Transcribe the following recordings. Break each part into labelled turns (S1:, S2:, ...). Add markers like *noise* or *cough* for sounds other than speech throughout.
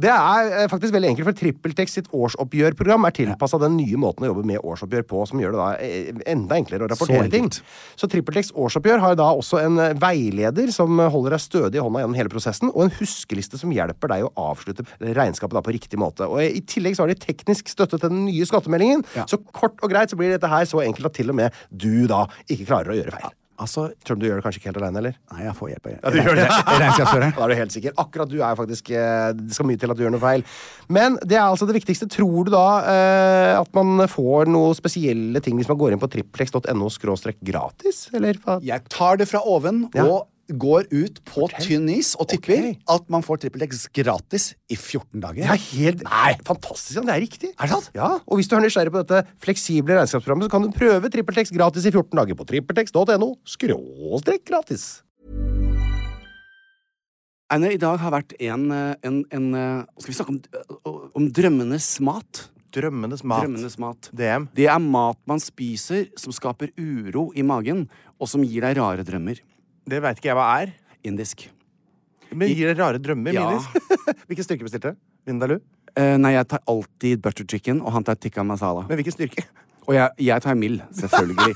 S1: Det er eh, faktisk veldig enkelt, for TrippelTex sitt årsoppgjørprogram er tilpassa den nye måten å jobbe med årsoppgjør på, som gjør det da eh, enda enklere å rapportere
S2: Så
S1: ting.
S2: enkelt.
S1: Så TrippelTex årsoppgjør har da også en eh, veileder som eh, holder deg stødig i hånda gjennom hele prosessen, og en huskeliste som hjelper deg å avslutte regnskapet da på riktig måte. Og eh, I tillegg så har de teknisk støtte til den nye skattemeldingen,
S2: Ja.
S1: så kort og greit så blir dette her så enkelt at til og med du da ikke klarer å gjøre feil.
S2: Altså,
S1: Tror du du gjør det kanskje ikke helt aleine, eller?
S2: nei, jeg får hjelp av
S1: Ja, du gjør det.
S2: regnskapsføreren.
S1: Da er du helt sikker. Akkurat du er faktisk eh, Det skal mye til at du gjør noe feil. Men det er altså det viktigste. Tror du da eh, at man får noen spesielle ting hvis man går inn på triplex.no gratis? Eller hva?
S2: Jeg tar det fra oven
S1: Ja.
S2: og går ut på tynn is og tipper
S1: Ok.
S2: at man får trippeltex gratis i 14 dager.
S1: Det er helt Nei, fantastisk! Jan. Det er riktig.
S2: Er det sant?
S1: Ja, og Hvis du er nysgjerrig på dette fleksible regnskapsprogrammet, så kan du prøve TrippelTex gratis i 14 dager på trippeltex.no skråstrek gratis.
S3: Einar, i dag har vært en, eh, en, en eh, Skal vi snakke om, om drømmenes mat?
S4: Drømmenes mat.
S3: Drømmenes mat.
S4: DM.
S3: Det er mat man spiser som skaper uro i magen, og som gir deg rare drømmer.
S4: Det veit ikke jeg hva er.
S3: Indisk.
S4: Men gir det rare drømmer,
S3: Ja.
S4: Minis? hvilken styrke bestilte? Vindaloo?
S3: Eh, nei, jeg tar alltid butter chicken, og han tar tikka masala.
S4: Men hvilken styrke?
S3: Og jeg, jeg tar mild,
S4: *laughs*
S3: selvfølgelig.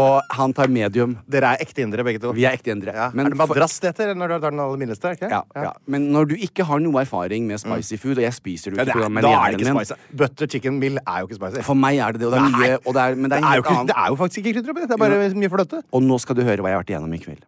S3: og han tar medium.
S4: Dere er ekte indere, begge to.
S3: Vi er ekte indre.
S4: ja.
S3: Men
S4: er det madrass det heter når du tar den aller mildeste? er det Ikke?
S3: Ja, ja. Men når du ikke har noe erfaring med spicy food, og jeg spiser det jo
S4: Mm. Ja,
S3: ikke
S4: det er,
S3: pga.
S4: da er det
S3: leveren
S4: ikke
S3: min
S4: spicy. Butter chicken mill er jo ikke spicy.
S3: For meg er det det, og det er mye og det er, Men det
S4: det,
S3: er,
S4: er jo
S3: helt
S4: ikke,
S3: annet.
S4: det er jo faktisk ikke krydder oppi. Det er bare mye fløte.
S3: Og nå skal du høre hva jeg har vært igjennom i kveld.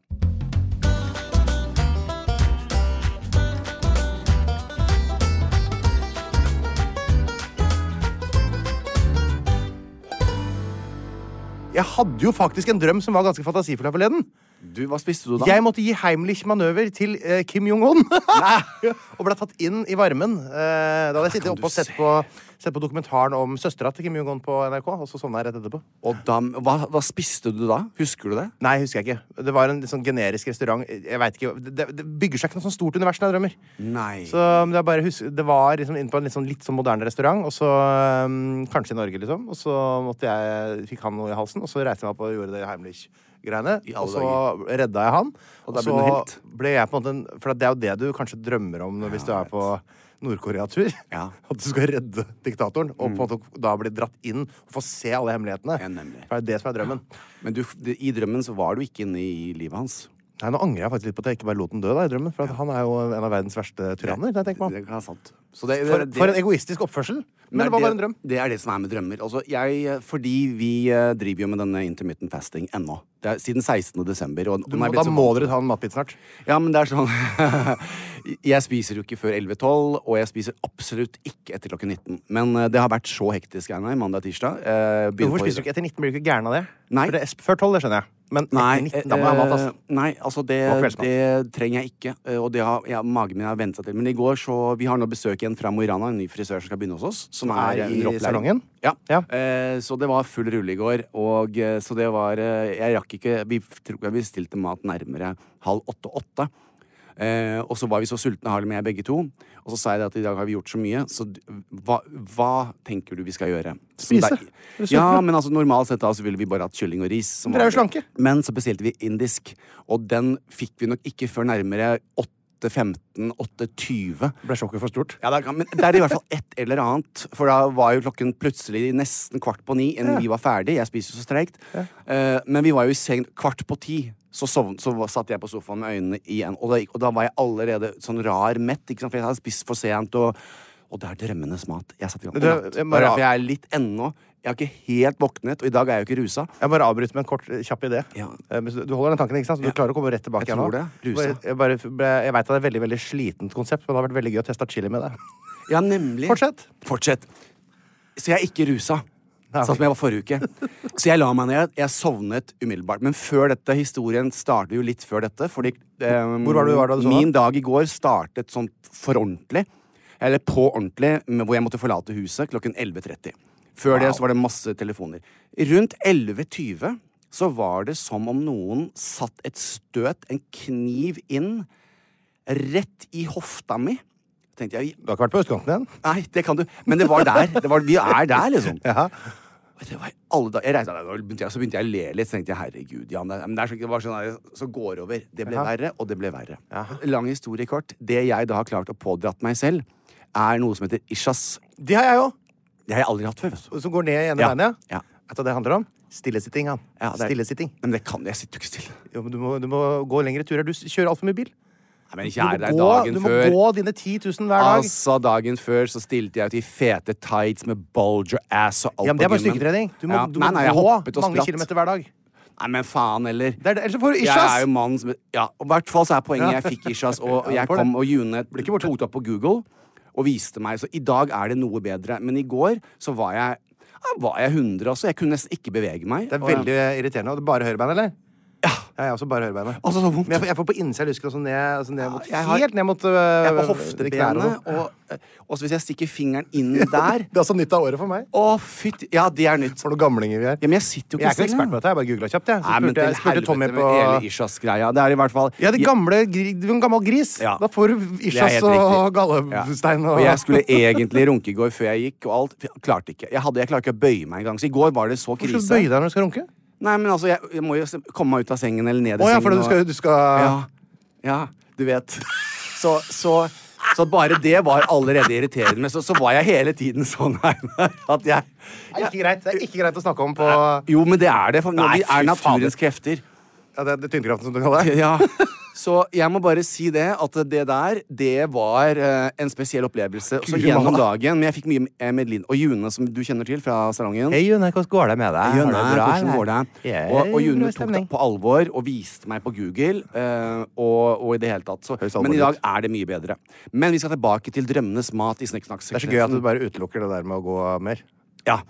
S4: Jeg hadde jo faktisk en drøm som var ganske fantasifull her forleden.
S3: Du, Hva spiste du da?
S4: Jeg måtte gi Heimlich manøver til eh, Kim Jong-un. *laughs* og ble tatt inn i varmen. Eh, da hadde jeg sittet
S3: kan
S4: oppe og
S3: du
S4: sett på, sett på dokumentaren om søstera til Kim Jong-un på NRK, og så sovna jeg rett etterpå.
S3: Og da, hva, hva spiste du da? Husker du det?
S4: Nei, husker jeg ikke. Det var en litt sånn generisk restaurant. Jeg vet ikke, Det, det bygger seg ikke noe sånn stort univers når jeg drømmer.
S3: Nei.
S4: Så det, er bare hus- det var liksom inne på en litt sånn, litt sånn moderne restaurant, og så øhm, kanskje i Norge, liksom. Og så måtte jeg, fikk han noe i halsen, og så reiste jeg meg opp og gjorde det Heimlich-greiene.
S3: I alle
S4: Og så redda jeg han. Og,
S3: da ble
S4: så
S3: du helt.
S4: ble jeg på en måte en For det er jo det du kanskje drømmer om hvis du er på Nord-Korea-tur.
S3: Ja.
S4: *laughs*
S3: Mm.
S4: At du skal redde diktatoren, og på en måte da bli dratt inn og få se alle hemmelighetene.
S3: Ja, nemlig.
S4: For det er det som er drømmen.
S3: Men du, det- i drømmen så var du ikke inne i livet hans.
S4: Nei, Nå angrer jeg faktisk litt på at jeg ikke bare lot den dø da, i drømmen. For at han er jo en av verdens verste tyranner. når jeg tenker meg om.
S3: Det er sant. Så det,
S4: For,
S3: det,
S4: for en egoistisk oppførsel. Men det var bare en drøm.
S3: Det er det som er med drømmer. Altså, jeg, eh, fordi vi eh, driver jo med denne intermittent fasting ennå. Det er siden 16. desember. Og,
S4: Du må, da må dere ta en matbit snart.
S3: Ja, men det er sånn *laughs* Jeg spiser jo ikke før 11-12, og jeg spiser absolutt ikke etter klokken 19. Men eh, det har vært så hektisk, Einar, Eh, mandag-tirsdag.
S4: Hvorfor spiser du ikke etter 19? Blir du ikke gæren av det?
S3: Nei.
S4: For det er før 12, det skjønner jeg. Men
S3: Nei,
S4: etter 19, da må jeg ha mat,
S3: eh,
S4: ass.
S3: nei, altså det,
S4: Og kveldsmat.
S3: det trenger jeg ikke. eh, Og det har, ja, magen min har vent seg til. Men i går så Vi har nå besøk igjen fra Mo i Rana, en ny frisør som skal begynne hos oss. Som
S4: Er
S3: er, eh,
S4: i
S3: under opplæring.
S4: salongen?
S3: Ja.
S4: Ja.
S3: Eh, så det var full rulle i går. Og eh, så det var eh, Jeg rakk ikke Vi tror jeg bestilte mat nærmere halv åtte-åtte. Eh, og så var vi så sultne, Harlem og jeg begge to. Og så sa jeg det at i dag har vi gjort så mye, så d- hva, hva tenker du vi skal gjøre? Som
S4: Spise. Er
S3: deg-
S4: du sulten,
S3: Ja,
S4: da?
S3: men altså normalt sett da så ville vi bare hatt kylling og ris. som
S4: Dere er jo
S3: var-
S4: slanke.
S3: Men så bestilte vi indisk, og den fikk vi nok ikke før nærmere 8.15-8.20.
S4: Ble sjokket for stort?
S3: Ja, det er, men det er i hvert fall ett eller annet. For da var jo klokken plutselig nesten kvart på ni enn vi var ferdig. Jeg spiser jo så streikt. Eh, men vi var jo i seng kvart på ti. Så, sovn, så var- satt jeg på sofaen med øynene igjen, og da, gikk- og da var jeg allerede sånn rar mett. Ikke sant? For jeg hadde spist for sent, og, og det er drømmenes mat. Jeg satt i gang.
S4: Det-
S3: Det er
S4: jeg bare-
S3: derfor jeg er litt ennå. Jeg har ikke helt våknet, og i dag er jeg jo ikke rusa.
S4: Jeg bare avbryter med en kort, eh, kjapp idé.
S3: Ja.
S4: Eh, men Du du holder den tanken, ikke sant? Så du klarer å komme rett tilbake
S3: Jeg
S4: igjen nå?
S3: tror det. Rusa.
S4: Jeg, bare, ble- jeg vet at det er et veldig, veldig slitent konsept, men det har vært veldig gøy å teste chili med deg.
S3: Ja, nemlig.
S4: Fortsett.
S3: Fortsett. Så jeg er ikke rusa. Sånn som jeg var forrige uke. Så jeg la meg ned. Jeg sovnet umiddelbart. Men før dette, historien starter jo litt før dette. Fordi ehm,
S4: Hvor var du- var det du sovnet?
S3: min dag i går startet sånn for ordentlig. Eller på ordentlig, med- hvor jeg måtte forlate huset klokken 11.30. Før det så var det masse telefoner. Rundt 11.20 så var det som om noen satt et støt, en kniv, inn rett i hofta mi. Tenkte jeg,
S4: Du har ikke vært på østkanten igjen?
S3: Nei, det kan du. Men det var der. Det var, vi er
S4: *laughs*
S3: der, liksom. Og Det var i alle dager. Jeg reiste meg, og begynte jeg- så begynte jeg å le litt. Så tenkte jeg herregud, Jan. Det, er- men det, er så, det var sånn der, så går det over. Det ble verre, og det ble verre. Lang historie kort. Det jeg da har klart å pådratt meg selv, er noe som heter Ishas.
S4: De har jeg òg.
S3: Det har jeg aldri hatt før. vet du.
S4: Som går ned i ene
S3: Ja.
S4: beinet.
S3: Ja.
S4: Vet du hva det handler om? Stillesitting, han.
S3: Ja, det er-
S4: Stillesitting.
S3: Nei, Men det kan jeg. Jeg sitter jo ikke stille.
S4: Jo, men du, må, du må gå lengre turer. Du s- kjører altfor mye bil.
S3: Nei,
S4: Du
S3: men
S4: må,
S3: kjære deg,
S4: gå,
S3: dagen
S4: du må
S3: før
S4: gå dine 10 000 hver dag.
S3: Altså, dagen før så stilte jeg ut i fete tights med bulger ass og alt
S4: ja, men det er bare
S3: på gymmen.
S4: styrketrening. Du må,
S3: Ja.
S4: du må
S3: nei, nei, jeg
S4: gå
S3: hoppet og
S4: mange
S3: spratt.
S4: kilometer hver dag.
S3: Nei, men faen heller.
S4: Det er, det- ellers så får du
S3: Jeg er
S4: isjas!
S3: jo mannen som Ja, og i hvert fall så er poenget
S4: Ja.
S3: jeg fikk Ishas,
S4: *laughs*
S3: og
S4: Ja,
S3: jeg
S4: du får det.
S3: kom og June tok det opp på Google og viste meg, så i dag er det noe bedre. Men i går så var jeg ja, var jeg 100, altså. Jeg kunne nesten ikke bevege meg.
S4: Det er
S3: og jeg-
S4: veldig irriterende. Og det er bare høyrebein, eller? Ja. Jeg er også bare høyrebeinet.
S3: Altså, så vondt.
S4: Men jeg, får- jeg får på innsida lysken og sånn ned, altså ned mot,
S3: Ja, jeg har-
S4: helt ned mot øh,
S3: Jeg er på
S4: knærne.
S3: hoftebenet, og og så hvis jeg stikker fingeren inn der
S4: Det er altså nytt av året for meg.
S3: Å, fytti Ja, det er nytt.
S4: For noen gamlinger vi er.
S3: Ja, men jeg sitter jo
S4: Jeg
S3: ikke
S4: er ikke
S3: selv,
S4: ekspert på
S3: jeg.
S4: dette, jeg bare googla kjapt. Jeg. Så
S3: Nei, men
S4: spurte,
S3: til
S4: jeg, spurte
S3: helvete
S4: Tommy
S3: med
S4: på
S3: hele Ishas-greia. Det er i hvert fall
S4: Ja, det gamle, gri- du er en gammel gris.
S3: Ja.
S4: Da får du
S3: Det er
S4: Ishas
S3: helt
S4: og
S3: riktig.
S4: gallestein
S3: Ja.
S4: og,
S3: Og jeg skulle egentlig runke i går før jeg gikk, og alt. Jeg klarte ikke. Jeg, hadde, jeg klarte ikke å bøye meg engang. Så i går var det så
S4: Hvorfor
S3: krise.
S4: skal du bøye deg når du skal runke?
S3: Nei, men altså, jeg, jeg må jo se- komme meg ut av sengen eller ned i
S4: Å ja,
S3: sengen.
S4: fordi du
S3: og-
S4: skal, du skal
S3: ja, ja, du vet. Så, så, så bare det var allerede irriterende. Men så, så var jeg hele tiden sånn *laughs* her at jeg,
S4: Det er
S3: jeg
S4: ikke greit. Det er ikke greit å snakke om på
S3: Jo, men det er det. For når
S4: Nei,
S3: vi er
S4: fy faen.
S3: naturens krefter.
S4: ja, det, det er tyngdekraften, som du kaller det.
S3: Ja. Så jeg må bare si det, at det der, det var eh, en spesiell opplevelse. Så
S4: Guri
S3: gjennom
S4: malla.
S3: dagen, men jeg fikk mye eh, medlid. Og June, som du kjenner til fra salongen.
S4: Hei, June, hvordan går det med deg?
S3: Jønne,
S4: Har du det bra,
S3: hvordan
S4: eller?
S3: går det?
S4: Jeg er
S3: Og, og
S4: i
S3: June
S4: bra
S3: tok det
S4: stemning.
S3: på alvor og viste meg på Google. eh, og, og i det hele tatt så,
S4: Høres alvorlig
S3: Men i dag
S4: ut.
S3: er det mye bedre. Men vi skal tilbake til drømmenes mat i Snikksnakk.
S4: Det er så gøy at du bare utelukker det der med å gå mer.
S3: ja,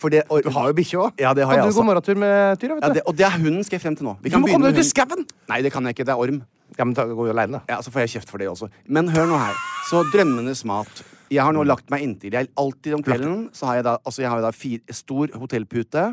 S3: for det, og,
S4: Du har jo bikkje òg.
S3: Ja, det har jeg
S4: du gå
S3: også.
S4: morgentur med Tyra, vet
S3: Ja,
S4: du?
S3: det, og det er hunden skal jeg frem til nå. Vi
S4: Du må
S3: begynne
S4: komme
S3: med
S4: deg ut i
S3: hunden. Nei, det kan jeg ikke. Det er orm.
S4: Ja, men ta, gå aleine, da.
S3: Ja, Så får jeg kjeft for det også. Men hør nå her. Så drømmenes mat. Jeg
S4: Mm.
S3: har nå lagt meg inntil. Jeg alltid om kvelden så har jeg da, altså jeg har jo da fire, stor hotellpute,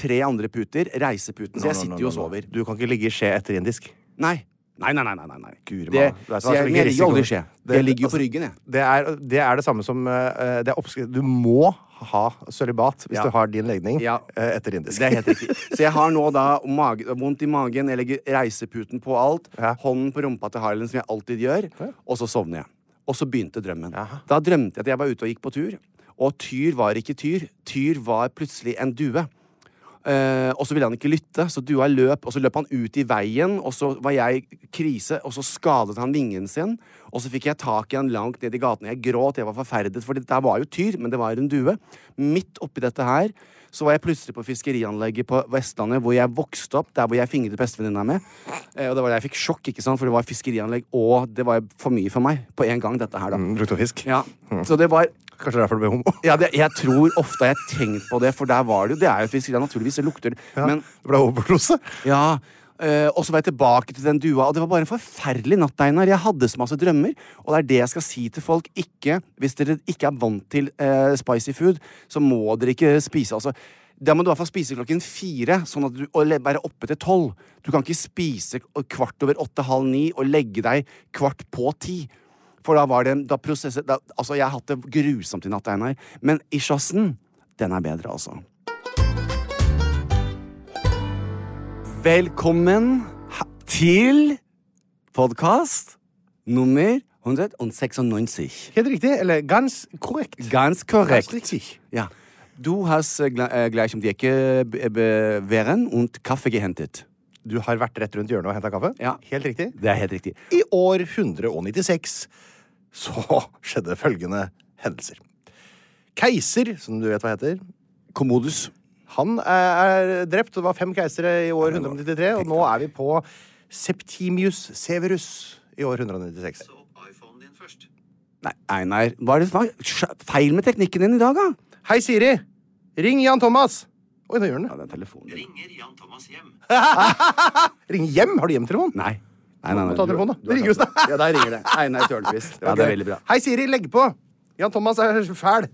S3: tre andre puter, reiseputen, så jeg sitter jo og sover.
S4: Du kan ikke ligge i skje etter indisk.
S3: Nei. Nei, nei, nei. nei, nei, nei.
S4: Guri
S3: det,
S4: malla. Det er
S3: så
S4: sånn
S3: jeg,
S4: som
S3: men jeg
S4: ikke
S3: ligger jo aldri i skje.
S4: risiko. Det-
S3: Jeg ligger jo på
S4: altså-
S3: ryggen, jeg.
S4: Det er det, er det samme som eh, det er oppskrift. Du må ha sølibat hvis
S3: Ja.
S4: du har din legning
S3: Ja.
S4: eh, etter indisk.
S3: Det er helt
S4: *laughs*
S3: riktig. *laughs* Så jeg har nå da mage, vondt i magen, jeg legger reiseputen på alt,
S4: Ja.
S3: hånden på rumpa til Harlan, som jeg alltid gjør, og så sovner jeg. Og så begynte drømmen. Da drømte jeg at jeg var ute og gikk på tur, og tyr var ikke tyr. Tyr var plutselig en due. Eh, og så ville han ikke lytte, så dua løp, og så løp han ut i veien, og så var jeg i krise, og så skadet han vingen sin, og så fikk jeg tak i han langt ned i gaten, og jeg gråt, jeg var forferdet, for dette var jo tyr, men det var en due. Midt oppi dette her, så var jeg plutselig på fiskerianlegget på Vestlandet, hvor jeg vokste opp, der hvor jeg fingret bestevenninna mi, Eh, og det var da jeg fikk sjokk, ikke sant, for det var fiskerianlegg, og det var for mye for meg, på en gang, dette her da.
S4: Brukte opp Mm, fisk.
S3: Ja, så det var
S4: Kanskje det er derfor du ble homo. *laughs*
S3: ja, det, jeg tror ofte har jeg tenkt på det, for der var det jo Det er jo fiskeri, ja, naturligvis. Det lukter det. Men
S4: Du ble overdose.
S3: ja eh, Og så var jeg tilbake til den dua, og det var bare en forferdelig natt, Einar. Jeg hadde så masse drømmer, og det er det jeg skal si til folk. Ikke, hvis dere ikke er vant til eh, spicy food, så må dere ikke spise, altså. Da må du i hvert fall spise klokken fire sånn at du, og le- være oppe til tolv. Du kan ikke spise kvart over åtte, halv ni og legge deg kvart på ti. For da var det da prosesset da, Altså, jeg har hatt det grusomt i natt, Einar. Men Ishassen, den er bedre, altså. Velkommen he- til podkast nummer 196.
S4: Helt riktig. Eller ganz korrekt.
S3: Ganz korrekt.
S4: Ganz richtig.
S3: Ja. Du har eh, gleich om Dieke wären und Kaffee gehentet.
S4: Du har vært rett rundt hjørnet og henta kaffe.
S3: Ja.
S4: Helt riktig.
S3: Det er helt riktig.
S4: I år 196 så skjedde følgende hendelser. Keiser, som du vet hva heter,
S3: Commodus.
S4: han er drept. og Det var fem keisere i år 193, og nå er vi på Septimius Severus i år 196.
S3: Nei, Einar, hva er det som er feil med teknikken din i dag, da?
S4: Hei, Siri! Ring Jan Thomas! Oi, nå gjør den det.
S3: Ja, det er telefonen.
S4: Ring hjem! Har du hjemtelefon?
S3: Nei. nei, nei,
S4: må
S3: nei.
S4: ta
S3: du-
S4: telefonen, da.
S3: du har
S4: Det ringer
S3: tatt
S4: jo
S3: den. Ja, der ringer det. Einar
S4: *laughs*
S3: Tørnquist. Ja, det er veldig bra.
S4: Hei, Siri, legg på! Jan Thomas er fæl.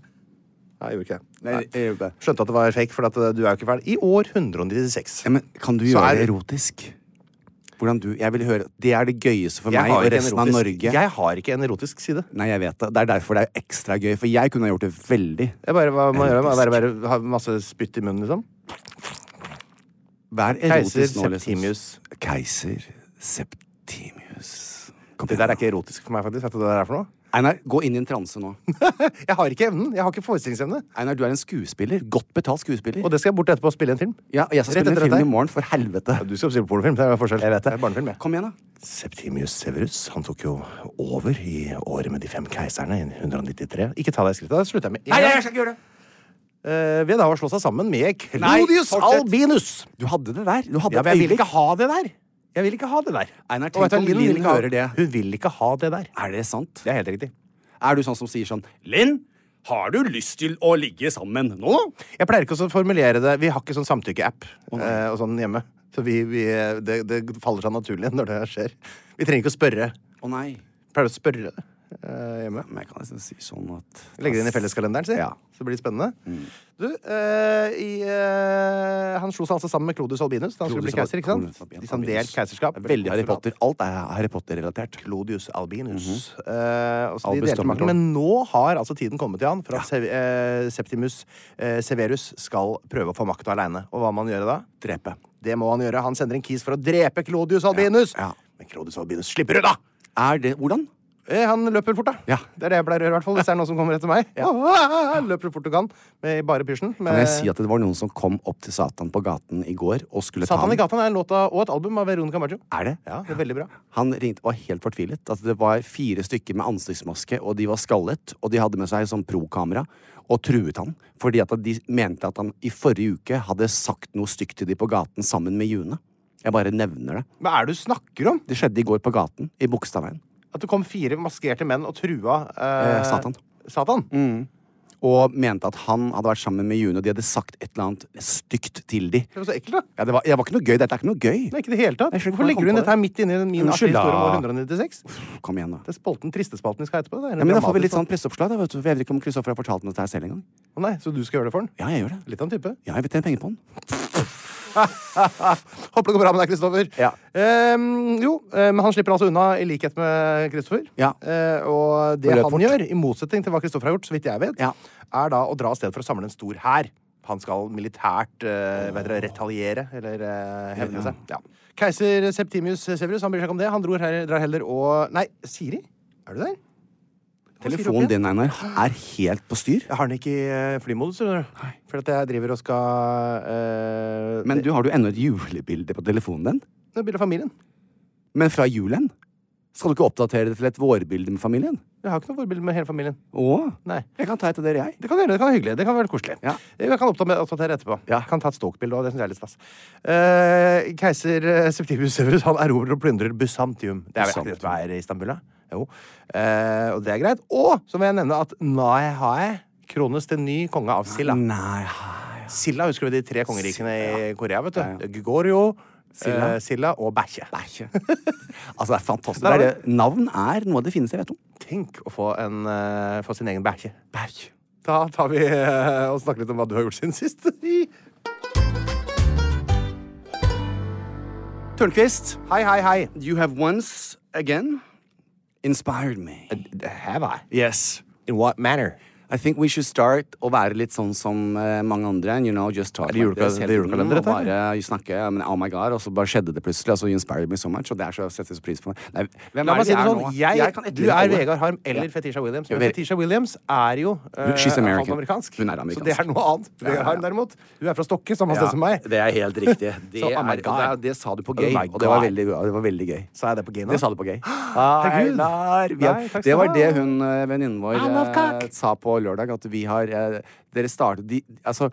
S4: Nei, jeg gjorde ikke det.
S3: Nei, jeg gjør ikke det.
S4: Skjønte at det var fake, for at eh, du er jo ikke fæl. I år 196.
S3: Ja, men kan du
S4: Så
S3: gjøre
S4: er-
S3: det erotisk? Hvordan du Jeg vil høre Det er det gøyeste for meg
S4: har
S3: og
S4: ikke en
S3: resten av
S4: erotisk-
S3: Norge.
S4: Jeg har ikke en erotisk side.
S3: Nei, jeg vet det. Det er derfor det er ekstra gøy, for jeg kunne ha gjort det veldig.
S4: Jeg bare, hva må jeg gjøre? Bare,
S3: Erotisk.
S4: bare, ha masse spytt i munnen, liksom?
S3: Vær erotisk
S4: Keiser
S3: nå, liksom.
S4: Septimius.
S3: Keiser Septimius. Kom
S4: Det
S3: igjen.
S4: der er ikke erotisk for meg, faktisk. Vet du hva det er for noe? *laughs*
S3: Einar, gå inn i en transe nå.
S4: Jeg har ikke evnen. Jeg har ikke forestillingsevne.
S3: Einar, du er en skuespiller. Godt betalt skuespiller.
S4: Og det skal jeg bort etterpå og spille en film.
S3: ja, og jeg skal
S4: Rett
S3: spille
S4: etter
S3: en film
S4: dette.
S3: i morgen, for helvete.
S4: Du skal spille pornofilm. Det er forskjell. Jeg vet det. Barnefilm, jeg.
S3: Kom igjen, da.
S4: Septimius Severus han tok jo over i året med de fem keiserne i 193. Ikke ta deg i skrittet. Da slutter jeg med en gang.
S3: skal ikke gjøre det.
S4: Eh, Ved da å slå seg sammen med
S3: Nei,
S4: Clodius
S3: fortsett.
S4: Albinus.
S3: Du hadde det der. Du
S4: Ja,
S3: hadde et
S4: men jeg vil
S3: øyeblikk.
S4: ikke ha det der. Jeg vil ikke ha det der.
S3: Einar,
S4: Og
S3: tenk
S4: vet du hva,
S3: om Linn
S4: vil ikke ha-
S3: hører det.
S4: Hun vil ikke ha det der.
S3: Er det sant?
S4: Det er helt riktig.
S3: Er du sånn som sier sånn Linn, har du lyst til å ligge sammen nå?
S4: Jeg pleier ikke å så formulere det Vi har ikke sånn samtykkeapp eh, og sånn hjemme. Så vi, vi, eh, det, det faller seg naturlig når det skjer. Vi trenger ikke å spørre.
S3: Å nei.
S4: Pleier å spørre eh, hjemme.
S3: Men jeg kan nesten si sånn at
S4: Legger det inn i felleskalenderen, si.
S3: Ja. Mm.
S4: Så blir det spennende. Du, eh, i, eh, han slo seg altså sammen med Clodius Albinus da han skulle bli
S3: Clodius
S4: keiser. ikke sant?
S3: Albinus.
S4: Litt sånn delt keiserskap.
S3: Veldig Harry Potter. Alt er Harry Potter-relatert. Mhm.
S4: Clodius Albinus. Eh, og så de
S3: Albus
S4: delte makten,
S3: Dumbledore.
S4: men nå har altså tiden kommet til han for at Sev- eh, Septimus eh, Severus skal prøve å få makta aleine. Og hva må han gjøre da?
S3: Drepe.
S4: Det må han gjøre. Han sender en kis for å drepe Clodius Albinus.
S3: Ja, ja.
S4: Men Clodius Albinus slipper unna!
S3: Er det Hvordan?
S4: Eh, Han løper fort, da.
S3: Ja.
S4: Det er det jeg pleier å gjøre, i hvert fall, hvis det er noen som kommer etter meg. Ah, Løper så fort du kan, med bare pysjen.
S3: Kan
S4: Med
S3: jeg si at det var noen som kom opp til Satan på gaten i går og skulle ta
S4: Satan i
S3: ham?
S4: gatan er en låt av, og et album av Veronica Maggio.
S3: Er det?
S4: Ja, det er veldig bra.
S3: Han ringte og var helt fortvilet. At det var fire stykker med ansiktsmaske, og de var skallet. Og de hadde med seg sånn pro-kamera og truet han. Fordi at de mente at han i forrige uke hadde sagt noe stygt til de på gaten sammen med June. Jeg bare nevner det.
S4: Hva er det du snakker om?
S3: Det skjedde i går på gaten i Bogstadveien.
S4: At det kom fire maskerte menn og trua eh,
S3: Eh, Satan.
S4: Satan?
S3: Mm. Og mente at han hadde vært sammen med June, og de hadde sagt et eller annet stygt til de.
S4: Det var så ekkelt, da.
S3: Ja, det, var, det var ikke noe gøy. Dette er ikke noe gøy.
S4: Det er ikke i det hele tatt.
S3: Jeg skjønner ikke
S4: Hvorfor legger du inn
S3: hvordan jeg kom på
S4: dette her midt inni den min artige
S3: Unnskyld, da.
S4: historie om år 196?
S3: Kom igjen, da.
S4: Det er spolten Tristespalten vi skal ha etterpå. Det er en
S3: Ja, men Da får vi
S4: dramatisk
S3: litt sånn
S4: spalte.
S3: presseoppslag. da, vet du. For Jeg vet ikke om Kristoffer har fortalt om dette her selv engang.
S4: Å Nei, Så du skal gjøre det for den?
S3: Ja, jeg gjør det.
S4: Litt av en type.
S3: Ja, jeg vil tjene penger på den.
S4: *laughs* Håper det går bra med deg, Kristoffer.
S3: Ja.
S4: Ehm, jo, eh, men han slipper altså unna, i likhet med Kristoffer.
S3: Ja.
S4: Eh, og det
S3: Og løp
S4: han
S3: fort.
S4: gjør, i motsetning til hva Kristoffer har gjort, så vidt jeg vet,
S3: Ja.
S4: er da å dra av sted for å samle en stor hær. Han skal militært eh, vet dere, retaliere, eller eh, hevne seg. Ja. Keiser Septimius Severus han bryr seg ikke om det. Han dro her, drar heller og Nei, Siri? Er du der?
S3: Telefonen din, Einar, er helt på styr.
S4: Jeg har den ikke i eh, flymodus, skjønner du. For at jeg driver og skal eh,
S3: Men du har du ennå et julebilde på telefonen din?
S4: Det er bilde av familien.
S3: Men fra julen? Skal du ikke oppdatere det til et vårbilde med familien?
S4: Jeg har ikke noe forbilde med hele familien.
S3: Å,
S4: Nei.
S3: jeg kan ta et av dere, jeg.
S4: Det kan du gjøre, det kan være hyggelig. Det kan være koselig.
S3: Ja.
S4: Jeg kan oppdatere oppdatere etterpå.
S3: Ja.
S4: Kan ta et stalk-bilde òg. Det syns jeg er litt stas. Eh, Keiser eh, Septimius Severus han erobrer og plyndrer Bysantium. Det er vel
S3: Bysantium.
S4: ikke det som er i Istanbul, da? Jo. Eh, og det er greit. Og så vil jeg nevne at Naihai krones til ny konge av Silla.
S3: Nei, hei.
S4: Silla husker du de tre kongerikene i Korea, vet du? Gregorio, Silla, Silla og Bæsje.
S3: Bæsje. *laughs* altså, det er fantastisk. Det er det. Navn er noe av det fineste jeg vet om.
S4: Tenk å få, en, eh, få sin egen bæsje. Da tar vi eh, og snakker litt om hva du har gjort siden sist. hei,
S3: Tørnquist,
S4: hei, hei.
S3: you have once again inspired me.
S4: Have I?
S3: Yes.
S4: In what manner?
S3: I think we should start å være litt sånn som eh, mange andre. and You know, just talk
S4: det
S3: like
S4: juleka-
S3: this hele
S4: det er
S3: tiden,
S4: julekalender,
S3: og
S4: dette,
S3: bare snakke, men, oh my god, og så bare skjedde det plutselig. Og så you inspired me so much, og det er så jeg setter så pris på det. Nei, hvem
S4: La
S3: er
S4: meg
S3: det
S4: si det
S3: vi er
S4: sånn.
S3: nå?
S4: Jeg, du
S3: kan
S4: er
S3: etterligne alle.
S4: Vegar Harm eller
S3: Ja.
S4: Fetisha Williams.
S3: Jeg
S4: Men
S3: vet-
S4: Fetisha Williams er jo eh,
S3: She's American.
S4: halvt amerikansk.
S3: Hun er
S4: Så
S3: amerikansk.
S4: det er noe annet.
S3: Ja, ja,
S4: Vegar
S3: ja.
S4: Harm, derimot, du er fra Stokke, samme
S3: Ja,
S4: sted som meg.
S3: Det er helt riktig.
S4: *laughs*
S3: Det,
S4: Så, oh my
S3: er, og det,
S4: God.
S3: er- det sa du på
S4: Oh
S3: gay,
S4: my
S3: og det var,
S4: God.
S3: veldig, det var veldig gøy.
S4: Sa jeg det på gay nå?
S3: Det sa du på
S4: *gasps*
S3: gay.
S4: Herregud.
S3: Einar, vi har-
S4: Nei, takk skal
S3: det var
S4: du ha.
S3: det hun eh, venninnen vår
S4: I love
S3: eh,
S4: cock.
S3: sa på lørdag, at vi har eh, Dere startet de, Altså,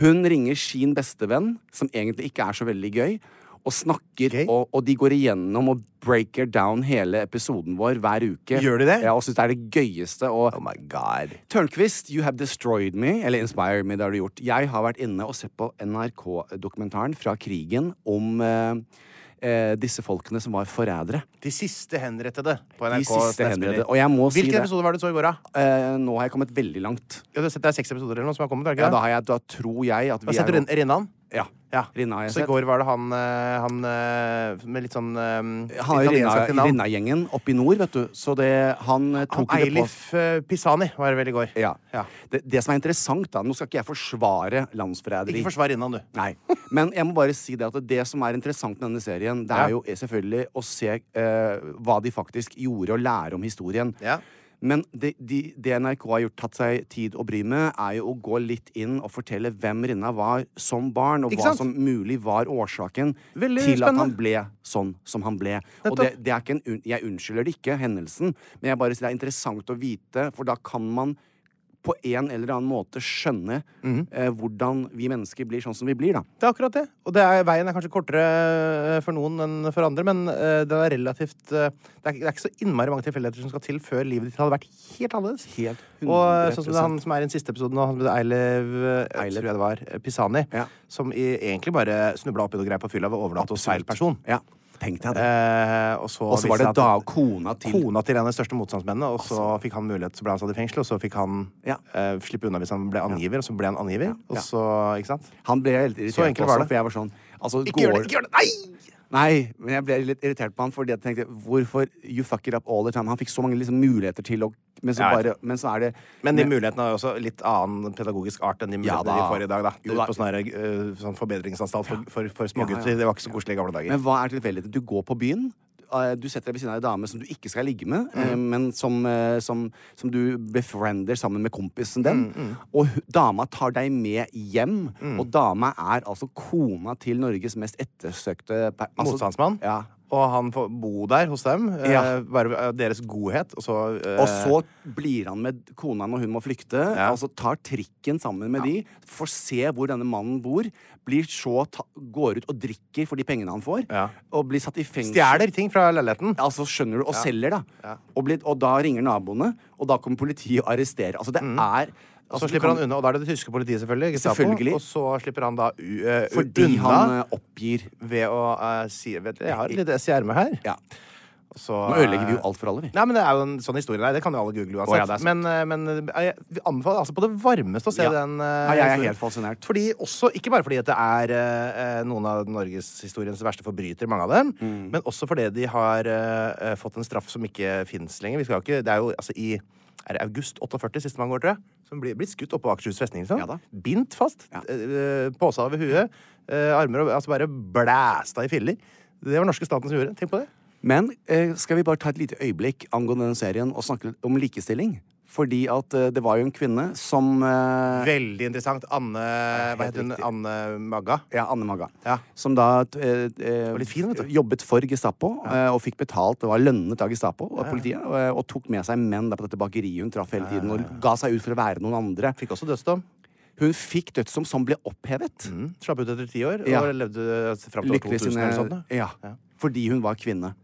S3: hun ringer sin bestevenn, som egentlig ikke er så veldig gøy, og snakker,
S4: Gøy?
S3: og, og de går igjennom og breaker down hele episoden vår hver uke.
S4: Gjør de det?
S3: Ja, og syns det er det gøyeste. Og
S4: Oh my god.
S3: Tørnquist, you have destroyed me, eller inspired me, det har du gjort. Jeg har vært inne og sett på NRK-dokumentaren fra krigen om eh, eh, disse folkene som var forrædere.
S4: De siste henrettede på
S3: De
S4: NRK.
S3: siste
S4: nettspiller.
S3: henrettede. Og jeg må si
S4: Hvilken
S3: det-
S4: episode var det du så i går, da?
S3: Eh, nå har jeg kommet veldig langt.
S4: Ja, du har sett det er seks episoder eller noe som har kommet? er det
S3: Ja,
S4: Ikke?
S3: da,
S4: det?
S3: har jeg, da tror jeg at vi
S4: har sett
S3: er nå-
S4: Rin- Rinnan?
S3: Ja.
S4: Ja.
S3: Rinna har jeg
S4: Så i
S3: sett.
S4: går var det han, eh, han eh, med litt sånn eh,
S3: Han er jo
S4: italiensk
S3: Rinna-
S4: etternavn.
S3: Rinna-gjengen oppe i nord, vet du. Så det, han eh,
S4: Han
S3: tok ikke det på
S4: Eilif eh, Pisani var det vel i går.
S3: ja.
S4: Ja.
S3: Det, det som er interessant, da Nå skal ikke jeg forsvare landsforræderi.
S4: Ikke forsvar Rinnan, du.
S3: Nei. Men jeg må bare si det at det som er interessant med denne serien, det
S4: Ja.
S3: er jo selvfølgelig å se eh, hva de faktisk gjorde, og lære om historien.
S4: Ja.
S3: Men det, de, det NRK har gjort, tatt seg tid å bry med, er jo å gå litt inn og fortelle hvem Rinna var som barn, og
S4: Ikke
S3: hva
S4: sant?
S3: som mulig var årsaken
S4: Veldig
S3: til at han
S4: spennende.
S3: ble sånn som han ble. Og det, det er ikke en, un- jeg unnskylder det ikke, hendelsen, men jeg bare sier det er interessant å vite, for da kan man på en eller annen måte skjønne
S4: Mhm.
S3: eh, hvordan vi mennesker blir sånn som vi blir, da.
S4: Det er akkurat det. Og det er, veien er kanskje kortere eh, for noen enn for andre, men eh, det er relativt eh, det, er, ikke- det er ikke så innmari mange tilfeldigheter som skal til før livet ditt hadde vært helt annerledes.
S3: Helt
S4: og eh, sånn som
S3: 100%.
S4: det er han som er i den siste episoden nå, han som heter Eilev eh,
S3: Eilev.
S4: tror jeg det var, eh, Pisani,
S3: Ja.
S4: som i, egentlig bare snubla oppi noe greier på fylla ved å overnatte hos feil person.
S3: Ja, tenk deg det.
S4: Eh, og så
S3: og
S4: viste
S3: så var det
S4: seg
S3: da
S4: at-
S3: kona til Altså.
S4: Kona til en av de største motstandsmennene, og så fikk han mulighet, så ble han satt i fengsel, og så fikk han
S3: Ja.
S4: eh, slippe unna hvis han ble angiver, og så ble han angiver,
S3: Ja.
S4: og så Ikke sant?
S3: Han ble helt irritert
S4: Så enkelt
S3: på
S4: var
S3: også,
S4: det.
S3: for jeg var sånn altså,
S4: Ikke gjør det, ikke gjør det,
S3: Nei! Nei, men jeg ble litt irritert på han fordi jeg tenkte hvorfor you fuck it up all the time? Han fikk så mange liksom, muligheter til å men så,
S4: Ja, jeg
S3: bare, men så er det
S4: Men de mulighetene har jo også litt annen pedagogisk art enn de
S3: Ja,
S4: mulighetene
S3: da.
S4: de får i dag. da.
S3: Jo, da.
S4: På sånne, her, eh, sånn forbedringsanstalt for, for, for smågutter.
S3: Ja, ja.
S4: Det var ikke så koselig i gamle dager.
S3: Men hva er tilfeldigheten? Du går på byen. eh, Du setter deg ved siden av ei dame som du ikke skal ligge med,
S4: Mm.
S3: eh, men som, eh, som, som du befriender sammen med kompisen
S4: Mm,
S3: din. Og hu- dama tar deg med hjem. Og dama er altså kona til Norges mest ettersøkte per- altså-
S4: Motstandsmann.
S3: Ja.
S4: Og han får bo der hos dem. eh,
S3: Ja.
S4: Bare eh, deres godhet, og så eh,
S3: Og så blir han med kona når hun må flykte. Altså tar trikken sammen med de, får se hvor denne mannen bor, blir så ta går ut og drikker for de pengene han får,
S4: Ja.
S3: og blir satt i fengsel.
S4: Stjeler ting fra leiligheten.
S3: Altså, skjønner du, og selger, da. Og, blir- og da ringer naboene, og da kommer politiet og arresterer. Altså, det er
S4: Mm. Og
S3: altså,
S4: så
S3: du
S4: slipper
S3: kan-
S4: han unna, og da er det det tyske politiet, selvfølgelig. Gestapo,
S3: Selvfølgelig.
S4: Og så slipper han da u, eh,
S3: Fordi
S4: unna
S3: han eh, oppgir
S4: ved å eh, si vet dere, Jeg har et lite ess i ermet her.
S3: Ja.
S4: Så, eh,
S3: Nå ødelegger vi jo alt for alle, vi.
S4: Nei, men Det er jo en sånn historie. Nei, det kan jo alle google
S3: Å,
S4: uansett.
S3: ja, det er sant.
S4: men eh, men eh, jeg vi anbefaler altså på det varmeste å se
S3: Ja.
S4: den. eh,
S3: Ja, jeg er
S4: historien.
S3: helt fascinert.
S4: Fordi også, Ikke bare fordi at det er eh, eh, noen av norgeshistoriens verste forbrytere, mange av dem,
S3: Mm.
S4: men også fordi de har eh, eh, fått en straff som ikke fins lenger. Vi skal jo ikke, det er jo altså i er det august 48, siste man går, tror jeg? Som blir, blir skutt oppe på Akershus festning. Liksom.
S3: Ja da.
S4: Bindt fast. eh,
S3: Ja.
S4: Ja. Påsa eh, over huet. eh, Armer og Altså bare blæsta i filler. Det var norske staten som gjorde det. Tenk på det.
S3: Men eh, skal vi bare ta et lite øyeblikk angående den serien og snakke litt om likestilling? Fordi at eh, det var jo en kvinne som eh,
S4: Veldig interessant. Anne Hva
S3: helt
S4: heter hun?
S3: riktig.
S4: Anne Magga?
S3: Ja, Anne Magga.
S4: Ja.
S3: Som da t- eh, eh,
S4: litt fin, vet du.
S3: jobbet for Gestapo eh, og fikk betalt og var lønnet av Gestapo og politiet. Og, eh, og tok med seg menn da på dette bakeriet hun traff hele tiden, og ga seg ut for å være noen andre.
S4: Fikk også dødsdom.
S3: Hun fikk dødsdom som ble opphevet.
S4: Slapp ut etter ti år
S3: Ja.
S4: og levde altså, fram til år
S3: Lykkelig
S4: Mm, 2000
S3: sine
S4: eller sånt. da. Mm.
S3: ja, Fordi hun var kvinne.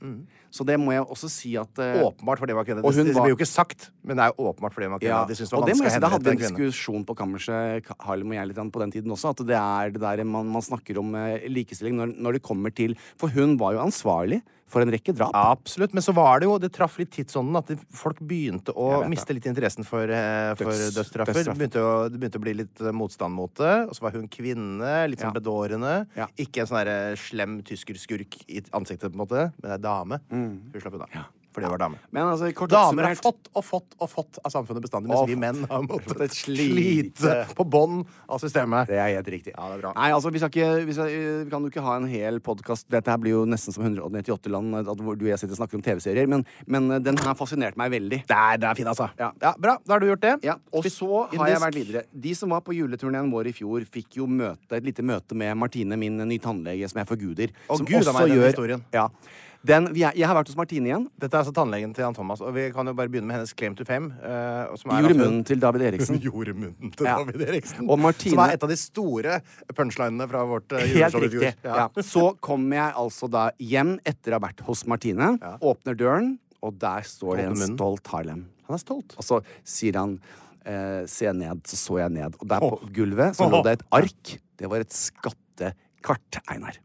S3: Så det må jeg også si at eh,
S4: Åpenbart fordi hun var kvinne.
S3: Og
S4: Det,
S3: hun
S4: det
S3: var-
S4: blir jo ikke sagt, men det er jo åpenbart fordi hun var kvinne.
S3: Ja,
S4: De synes det var
S3: og det må
S4: vanskelig
S3: jeg si,
S4: å
S3: Da
S4: henrette
S3: hadde vi en
S4: en kvinne.
S3: diskusjon på kammerset Ka- Harlem og jeg litt grann på den tiden også, at det er det der man, man snakker om eh, likestilling når, når det kommer til For hun var jo ansvarlig for en rekke drap.
S4: Absolutt. Men så var det jo Det traff litt tidsånden at det- folk begynte å
S3: Jeg vet det.
S4: miste litt interessen for, eh, for
S3: Døds-
S4: dødsstraffer.
S3: dødsstraff.
S4: Begynte å, det begynte å bli litt eh, motstand mot det. Og så var hun kvinne, litt sånn
S3: Ja.
S4: bedårende.
S3: Ja.
S4: Ikke en sånn derre slem tyskerskurk i ansiktet, på en måte, men ei dame. Hun slapp unna. Fordi hun var dame.
S3: Men altså, kort
S4: Damer har
S3: oppsummert-
S4: fått og fått og fått av samfunnet bestandig, mens
S3: Og
S4: vi
S3: fått.
S4: menn har måttet
S3: Slite.
S4: slite på bånn av systemet.
S3: Det er helt riktig.
S4: Ja, det er bra.
S3: Nei, altså, vi, skal ikke, vi, skal, vi kan jo ikke ha en hel podkast Dette her blir jo nesten som 198 land, at hvor du og jeg sitter og snakker om TV-serier. Men, men eh, den her fascinerte meg veldig.
S4: Der, det er fin, altså.
S3: Ja.
S4: ja, Bra. Da har du gjort det.
S3: Ja, og
S4: Spis
S3: så har jeg
S4: indisk.
S3: vært videre. De som var på juleturneen vår i fjor, fikk jo møte, et lite møte med Martine, min nye tannlege, som jeg forguder.
S4: Å,
S3: som
S4: Gud,
S3: også
S4: av meg, den
S3: gjør-
S4: historien.
S3: Ja. Den, vi er, jeg har vært hos Martine igjen.
S4: Dette er altså tannlegen til Jan Thomas, og vi kan jo bare begynne med hennes claim to fame. eh, som er at
S3: Gjorde
S4: hun-
S3: munnen til David
S4: *laughs* Hun
S3: Eriksen.
S4: gjorde munnen til
S3: Ja.
S4: David Eriksen.
S3: Og Martine-
S4: Som er et av de store punchlinene fra vårt eh,
S3: Helt
S4: juleshow i fjor.
S3: riktig. Ja. Så kommer jeg altså da hjem etter å ha vært hos Martine, åpner døren, og der står det en
S4: Åpner munnen.
S3: stolt Harlem.
S4: Han er stolt.
S3: Og så sier han eh, Se ned, så så jeg ned. Og der på gulvet så lå det et ark. Det var et skattekart, Einar.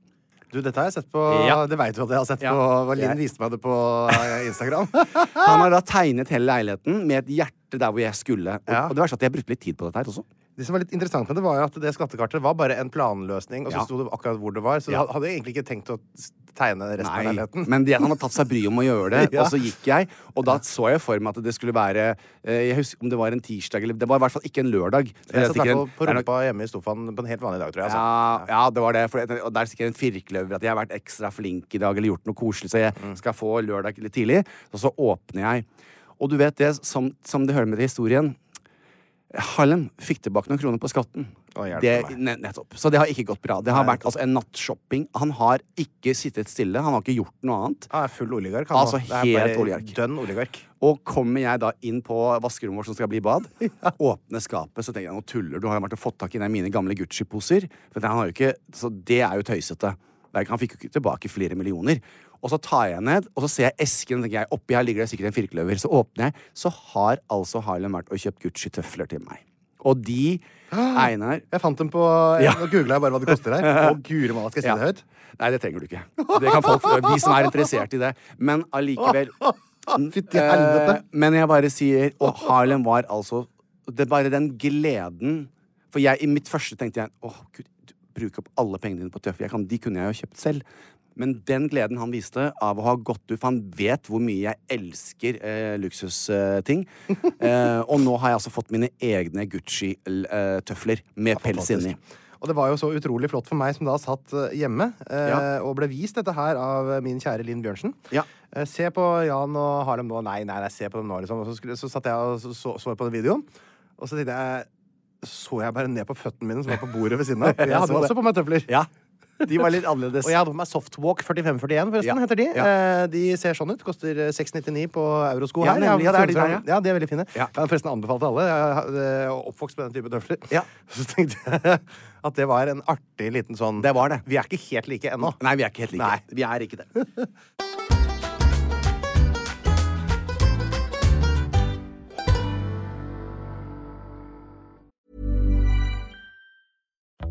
S4: Du, dette har jeg sett på
S3: Ja.
S4: Det veit du at jeg har sett
S3: Ja.
S4: på Linn
S3: Jeg-
S4: viste meg det på eh,
S3: *laughs*
S4: Instagram.
S3: Han har da tegnet hele leiligheten med et hjerte der hvor jeg skulle. Og,
S4: Ja.
S3: og det verste er at jeg brukte litt tid på dette her også.
S4: Det som var litt interessant med det, var jo at det skattekartet var bare en planløsning, og så
S3: Ja.
S4: sto det akkurat hvor det var, så
S3: Ja.
S4: jeg hadde egentlig ikke tenkt å tegne resten av leiligheten.
S3: men det, han har tatt seg bryet om å gjøre det,
S4: *laughs* Ja.
S3: og så gikk jeg. Og da så jeg for meg at det skulle være eh, Jeg husker om det var en tirsdag eller Det var i hvert fall ikke en lørdag. Det er
S4: Jeg satt i hvert
S3: sikkert
S4: fall
S3: en-
S4: på
S3: det er nok-
S4: rumpa hjemme i sofaen på en helt vanlig dag, tror jeg. Altså.
S3: Ja, ja, det var det. For, jeg- og der stikker en firkløver at jeg har vært ekstra flink i dag eller gjort noe koselig, så jeg
S4: Mm.
S3: skal få lørdag litt tidlig. Og så åpner jeg. Og du vet det, som, som det hører med til historien Harlem fikk tilbake noen kroner på skatten.
S4: Å, hjelpe
S3: det,
S4: meg.
S3: ne- nettopp. Så det har ikke gått bra. Det har vært altså, en nattshopping. Han har ikke sittet stille. Han har ikke gjort noe annet.
S4: Han er full oligark. Han,
S3: Altså,
S4: nå. Det er
S3: helt
S4: bare
S3: oligark.
S4: Dønn oligark.
S3: Og kommer jeg da inn på vaskerommet vårt som skal bli bad, åpner skapet, så tenker jeg nå tuller du, har jo vært og fått tak i en av mine gamle Gucci-poser? For han har jo ikke, så det er jo tøysete. Det er ikke- Han fikk jo ikke tilbake flere millioner. Og så tar jeg ned, og så ser jeg esken, og tenker jeg, oppi her ligger det sikkert en firkløver. Så åpner jeg, så har altså Harlem vært og kjøpt Gucci-tøfler til meg. Og de, Einar
S4: Jeg fant dem på eh, Nå googla jeg bare hva det koster her.
S3: *laughs*
S4: Å, guri malla, skal jeg si det
S3: ja.
S4: høyt?
S3: Nei, det trenger du ikke. Det kan folk, de som er interessert i det. Men allikevel
S4: *laughs* Fytti helvete.
S3: Eh, Men jeg bare sier Og Harlem var altså Det er bare den gleden For jeg, i mitt første tenkte jeg Åh, gud, du bruker opp alle pengene dine på tøffe. Jeg kan, de kunne jeg jo kjøpt selv. Men den gleden han viste av å ha gått ut For han vet hvor mye jeg elsker eh,
S4: *laughs*
S3: luksusting. eh, og nå har jeg altså fått mine egne Gucci-tøfler med pels inni.
S4: Og det var jo så utrolig flott for meg som da satt eh, hjemme eh,
S3: Ja.
S4: og ble vist dette her av eh, min kjære Linn Bjørnsen.
S3: Ja.
S4: Eh, se på Jan og Harlem nå. Nei, nei, nei, se på dem nå, liksom. Og så, skulle, så satt jeg og så, så, så på den videoen, og så tenkte jeg Så jeg bare ned på føttene mine som var på bordet ved
S3: *laughs*
S4: siden av. Jeg hadde
S3: så det.
S4: også på meg tøfler.
S3: Ja. De var litt annerledes.
S4: Og jeg hadde på meg Softwalk 4541, forresten,
S3: Ja.
S4: heter de.
S3: Ja.
S4: Eh, de ser sånn ut. Koster eh, 699 på eurosko
S3: Ja,
S4: her.
S3: nemlig. Ja, det er de
S4: Jeg har
S3: der, ja.
S4: funnet fram- ja, de er veldig fine.
S3: Ja.
S4: Jeg har forresten anbefalt alle. Jeg har- eh, er oppvokst med den type tøfler.
S3: Ja.
S4: *laughs* Så tenkte jeg at det var en artig liten sånn
S3: Det var det.
S4: Vi er ikke helt like ennå.
S3: Nei, vi er ikke helt like.
S4: Nei.
S3: Vi er ikke det.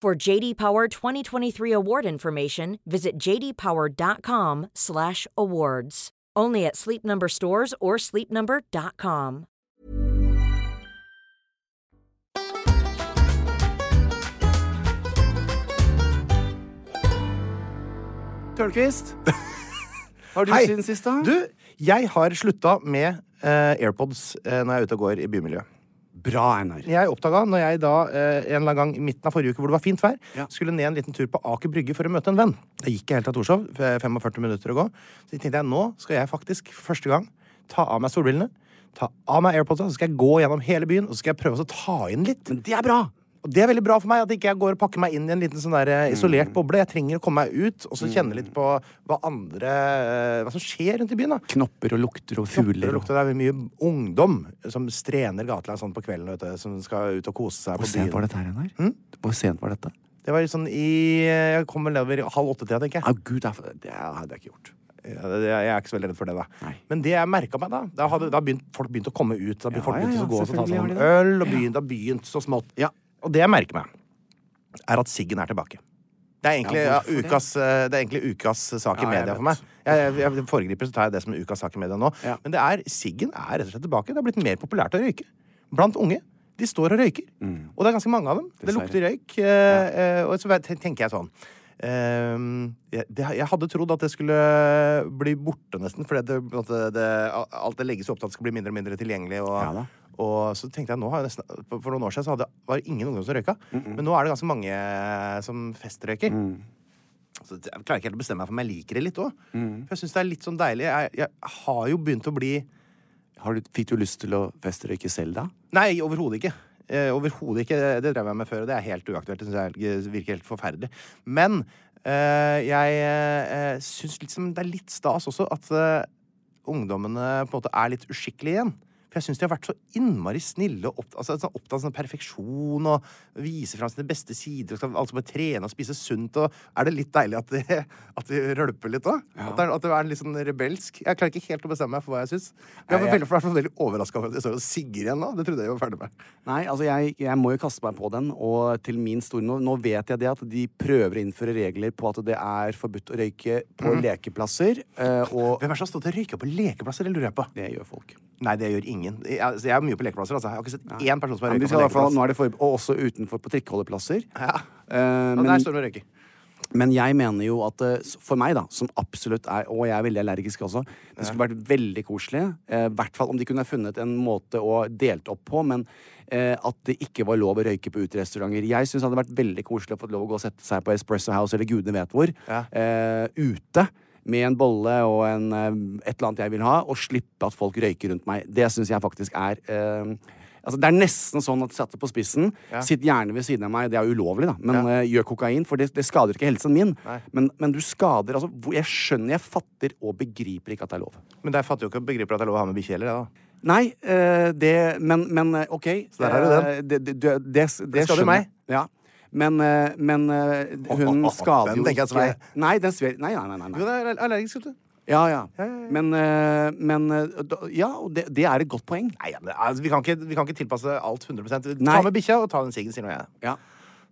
S5: For JD Power 2023 award information, visit jdpower.com/awards. Only at Sleep Number stores or sleepnumber.com.
S3: Tørnquist, har du
S4: Hei.
S3: siden sist, da?
S4: Du, jeg har slutta med eh, AirPods eh, når jeg er ute og går i bymiljøet.
S3: Bra, Einar.
S4: Jeg oppdaga når jeg da eh, en eller annen gang i midten av forrige uke hvor det var fint vær,
S3: Ja.
S4: skulle ned en liten tur på Aker Brygge for å møte en venn. Det gikk jeg helt av Torshov. f- 45 minutter å gå. Så tenkte jeg nå skal jeg faktisk første gang ta av meg solbrillene, ta av meg AirPodsa, så skal jeg gå gjennom hele byen og så skal jeg prøve å ta inn litt.
S3: Men det er bra!
S4: Og det er veldig bra for meg at ikke jeg går og pakker meg inn i en liten sånn der eh,
S3: Mm.
S4: isolert boble. Jeg trenger å komme meg ut og så kjenne litt på hva andre eh, Hva som skjer rundt i byen. da
S3: Knopper og lukter og fugler
S4: det
S3: og
S4: lukter det er mye ungdom som strener gatelangs sånn på kvelden, vet du, som skal ut og kose seg
S3: Hvor
S4: på
S3: sent
S4: byen.
S3: var dette her, Einar? Hvor sent var dette?
S4: Det var sånn i Jeg kommer nedover i halv åtte-tida, tenker
S3: Å,
S4: jeg.
S3: gud, det, er, for- det hadde jeg ikke gjort.
S4: Ja, det- Jeg er ikke så veldig redd for det, da.
S3: Nei.
S4: Men det jeg merka meg, da Da hadde da begynt, folk begynte å komme ut. Da begynte folk
S3: ja,
S4: begynte
S3: ja,
S4: å gå og ta
S3: selvfølgelig
S4: seg
S3: har de
S4: noen
S3: det.
S4: øl, og begynt, da begynt så smått.
S3: Ja.
S4: Og det jeg merker meg, er at siggen er tilbake. Det er egentlig
S3: Ja,
S4: ja,
S3: hvorfor det?
S4: ukas, eh, det er egentlig ukas sak i
S3: Ja, jeg
S4: media for meg.
S3: vet.
S4: Jeg, jeg, jeg foregriper, så tar jeg det som er ukas sak i media nå.
S3: Ja.
S4: Men det er, siggen er rett og slett tilbake. Det har blitt mer populært å røyke blant unge. De står og røyker.
S3: Mm.
S4: Og det er ganske mange av dem. Det
S3: Dessverre.
S4: lukter røyk. eh, eh, og så vet- tenker jeg sånn ehm, jeg, det, jeg hadde trodd at det skulle bli borte, nesten. For det, på en måte, det, alt det legges opp til at det skal bli mindre og mindre tilgjengelig. Og,
S3: Ja da.
S4: og så tenkte jeg nå har jeg nesten, For for noen år siden så hadde, var det ingen ungdom som røyka. Men nå er det ganske mange eh, som festrøyker.
S3: Mm.
S4: Så jeg klarer ikke helt å bestemme meg for om jeg liker det litt òg.
S3: Mm.
S4: For jeg syns det er litt sånn deilig. Jeg, jeg har jo begynt å bli
S3: Har du, fikk du lyst til å festrøyke selv, da?
S4: Nei, overhodet ikke. Eh, overhodet ikke. Det- Det drev jeg med før, og det er helt uaktuelt. Det synes jeg virker helt forferdelig. Men eh, jeg eh, syns liksom det er litt stas også at eh, ungdommene på en måte er litt uskikkelige igjen. For jeg syns de har vært så innmari snille og opptatt, altså, sånn opptatt av sånn perfeksjon og vise fram sine beste sider. Og skal altså bare trene og spise sunt. Og er det litt deilig at de, *laughs* at de rølper litt òg? At, det er- at det er litt sånn rebelsk? Jeg klarer ikke helt å bestemme meg for hva jeg syns. Men jeg var
S3: Nei, jeg-
S4: veldig, for jeg var veldig overraska over at jeg står og sigger igjen nå. Det trodde jeg vi var ferdig med.
S3: Nei, altså jeg, jeg må jo kaste meg på den, og til min store nå, nå vet jeg det at de prøver å innføre regler på at det er forbudt å røyke på lekeplasser, eh,
S4: Hvem
S3: og
S4: er det som har stått og røyka på lekeplasser? Det lurer jeg på.
S3: det gjør folk.
S4: Nei, det gjør ingen. Jeg, altså, jeg er mye på lekeplasser, altså. Jeg har ikke sett én person som har
S3: Men de
S4: røyka
S3: skal
S4: på
S3: i hvert fall,
S4: lekeplass.
S3: nå er det forbudt, og også utenfor på trikkeholdeplasser.
S4: Ja.
S3: Eh,
S4: Og der
S3: men,
S4: står de og røyker.
S3: men jeg mener jo at eh, s- for meg, da, som absolutt er Og jeg er veldig allergisk også. Det skulle vært veldig koselig. eh, I hvert fall om de kunne funnet en måte å delt opp på, men eh, at det ikke var lov å røyke på uterestauranter. Jeg syns det hadde vært veldig koselig å få lov å gå og sette seg på Espresso House eller gudene vet hvor eh, ute. Med en bolle og en, eh, et eller annet jeg vil ha, og slippe at folk røyker rundt meg. Det syns jeg faktisk er eh, Altså, det er nesten sånn at satt det på spissen. Sitt gjerne ved siden av meg. Det er ulovlig, da. Men eh, gjør kokain, for det, det skader ikke helsen min. Men, men du skader altså, hvor- Jeg skjønner, jeg fatter og begriper ikke at det er lov.
S4: Men der fatter jo ikke og begriper at det er lov å ha med bikkje heller, jeg, da.
S3: Nei, eh, det Men, men eh, OK.
S4: Så der har du den.
S3: Eh, Det, det, det, det, det
S4: skal du
S3: skjønner
S4: meg.
S3: jeg. Ja. Men, eh, men eh, hun skader
S4: Den
S3: jo
S4: tenker jeg svei.
S3: Nei, den svei. Nei, nei, nei. nei, nei.
S4: Jo, det er allergisk, vet du.
S3: Ja, ja. Men, eh, men eh, da- Ja, og det, det er et godt poeng.
S4: Nei, men, altså, vi, kan ikke, vi kan ikke tilpasse alt 100
S3: Nei.
S4: Ta med bikkja og ta den siggen, sier nå jeg.
S3: Ja.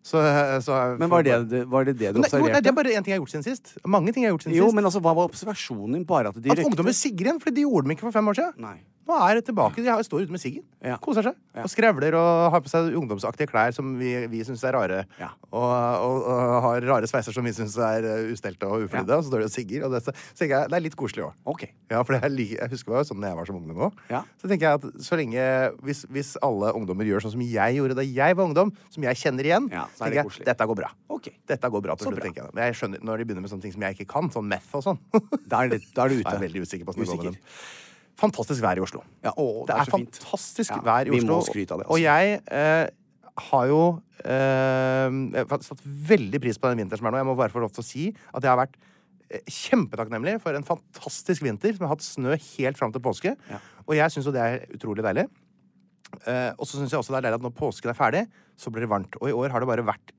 S4: Så, eh, så,
S3: Men var det det, var det, det du
S4: Nei, jo, nei, det
S3: observerte?
S4: er bare én ting jeg har gjort siden sist. Mange ting jeg har gjort siden
S3: Jo,
S4: sist.
S3: men altså, hva var observasjonen din? Bare at de
S4: At ungdommer sigger igjen, for de gjorde dem ikke for fem år siden.
S3: Nei.
S4: Nå er det tilbake. De har- står ute med siggen.
S3: Ja.
S4: Koser seg. Og skrevler og har på seg ungdomsaktige klær som vi, vi syns er rare.
S3: Ja.
S4: Og, og, og har har rare sveiser som vi syns er eh, ustelte og uflidde, og så står de og sigger. Og det, så, så tenker jeg, det er litt koselig òg.
S3: Ok.
S4: Ja, for det er like, jeg husker det var jo sånn da jeg var som ungdom òg.
S3: Ja.
S4: Så tenker jeg at så lenge hvis, hvis alle ungdommer gjør sånn som jeg gjorde da jeg var ungdom, som jeg kjenner igjen,
S3: Ja, så er det
S4: tenker
S3: koselig.
S4: jeg dette går bra.
S3: Ok.
S4: Dette går bra til
S3: Så
S4: slutt,
S3: bra.
S4: tenker jeg. Men jeg skjønner, når de begynner med sånne ting som jeg ikke kan, sånn meth og sånn
S3: *laughs* Da er det-
S4: *laughs*
S3: da er du ute.
S4: Jeg er veldig usikker på hvordan det går
S3: Usikker.
S4: med dem. Fantastisk vær i Oslo.
S3: Ja, å, det
S4: det,
S3: er
S4: er
S3: så fint.
S4: fantastisk
S3: Ja,
S4: vær i
S3: vi
S4: Oslo.
S3: må skryte av det, altså.
S4: Og jeg eh, har jo eh, jeg har satt veldig pris på den vinteren som er nå. Jeg må bare få lov til å si at jeg har vært eh, kjempetakknemlig for en fantastisk vinter som har hatt snø helt fram til påske. Og jeg syns jo det er utrolig deilig. Eh, og så syns jeg også det er deilig at når påsken er ferdig, så blir det varmt. Og i år har det bare vært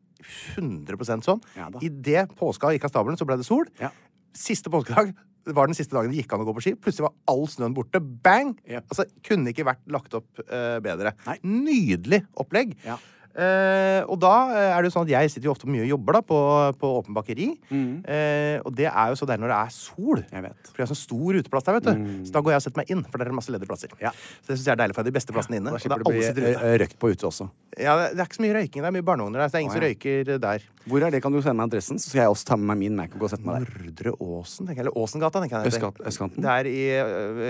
S4: 100 sånn.
S3: Ja da.
S4: Idet påska gikk av stabelen, så ble det sol.
S3: Ja.
S4: Siste påskedag var den siste dagen det gikk an å gå på ski. Plutselig var all snøen borte. Bang!
S3: Yep.
S4: Altså, Kunne ikke vært lagt opp eh, bedre.
S3: Nei.
S4: Nydelig opplegg.
S3: Ja.
S4: Eh, og da eh, er det jo sånn at jeg sitter jo ofte mye og jobber da på, på åpen bakeri. Eh, og det er jo så deilig når det er sol.
S3: Mm. Jeg vet. Mm.
S4: For det er sånn stor uteplass der, vet du. Så da går jeg og setter meg inn, for der er det masse ledige plasser.
S3: Ja.
S4: Så det syns jeg er deilig, for jeg har de beste plassene inne.
S3: Da
S4: og da
S3: slipper det å
S4: alle
S3: bli
S4: sitter ute.
S3: eh, røykt på ute også.
S4: Ja, det det er ikke så mye røyking. Det er mye barneunger der. Så det er ingen
S3: Å, ja.
S4: som røyker der.
S3: Hvor er det? Kan du sende meg adressen, så skal jeg også ta med meg min Mac og gå og sette meg der.
S4: Nordre Åsen, tenker jeg. Eller Åsengata, tenker jeg. det heter.
S3: Østgat- østkanten?
S4: Det er i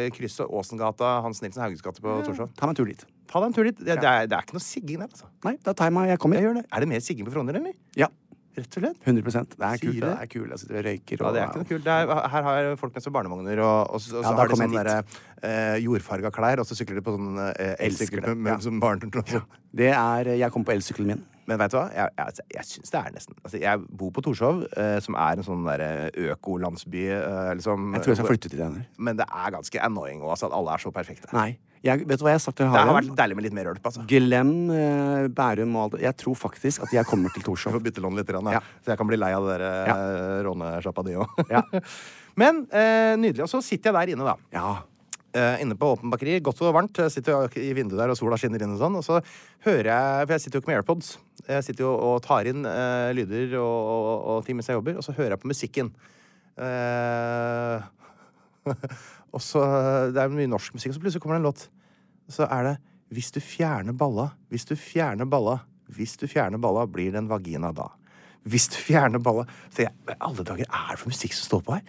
S4: øh, krysset Åsengata, Hans Nilsen Hauges gate på Torshov.
S3: Ta meg en tur dit.
S4: Ta deg en tur dit. Det, det, er, det er ikke noe sigging der, altså.
S3: Nei, da tar jeg meg Jeg kommer. Jeg gjør
S4: Er det mer sigging på Frogner, eller?
S3: Ja.
S4: Rett og slett.
S3: 100 Det er
S4: Sier
S3: kult. Det
S4: det.
S3: er kult. Jeg sitter og røyker
S4: Ja,
S3: og
S4: det er ikke noe kult. Det er, her har folk med seg barnevogner, og, og, så- og så
S3: Ja, da
S4: har de
S3: kommer
S4: sånne
S3: jeg
S4: der, eh, jordfarga klær, og så sykler de på sånn eh,
S3: Elsker
S4: elsykkel
S3: det,
S4: med- med-
S3: ja.
S4: som barn.
S3: Det er eh, Jeg kom på elsykkelen min.
S4: *laughs* Men vet du hva? Jeg, jeg, altså, jeg syns det er nesten altså, Jeg bor på Torshov, eh, som er en sånn der eh, økolandsby, eh, liksom.
S3: Jeg tror jeg skal flytte til den her.
S4: Men det er ganske annoying også, at alle er så perfekte.
S3: Nei. Jeg, vet du hva jeg har sagt til
S4: Det har vært
S3: Harald?
S4: deilig med litt mer rølp. Altså.
S3: Glem eh, Bærum og alt det. Jeg tror faktisk at jeg kommer til *laughs*
S4: Vi
S3: Torshov.
S4: får bytte lån litt, grann, da.
S3: Ja.
S4: så jeg kan bli lei av dere
S3: Ja.
S4: eh, rånesjappa di òg.
S3: Ja.
S4: *laughs* Men eh, nydelig. Og så sitter jeg der inne, da.
S3: Ja.
S4: Eh, inne på Åpen bakeri. Godt og varmt. Jeg sitter jo i vinduet der, og sola skinner inn og sånn. Og så hører jeg For jeg sitter jo ikke med AirPods. Jeg sitter jo og tar inn eh, lyder og, og, og ting mens jeg jobber, og så hører jeg på musikken. Eh, *laughs* og så Det er mye norsk musikk, og så plutselig kommer det en låt. Så er det 'Hvis du fjerner balla, hvis du fjerner balla, hvis du fjerner balla, blir det en vagina da'. Hvis du fjerner balla Så jeg, "Hva i alle dager er det for musikk som står på her?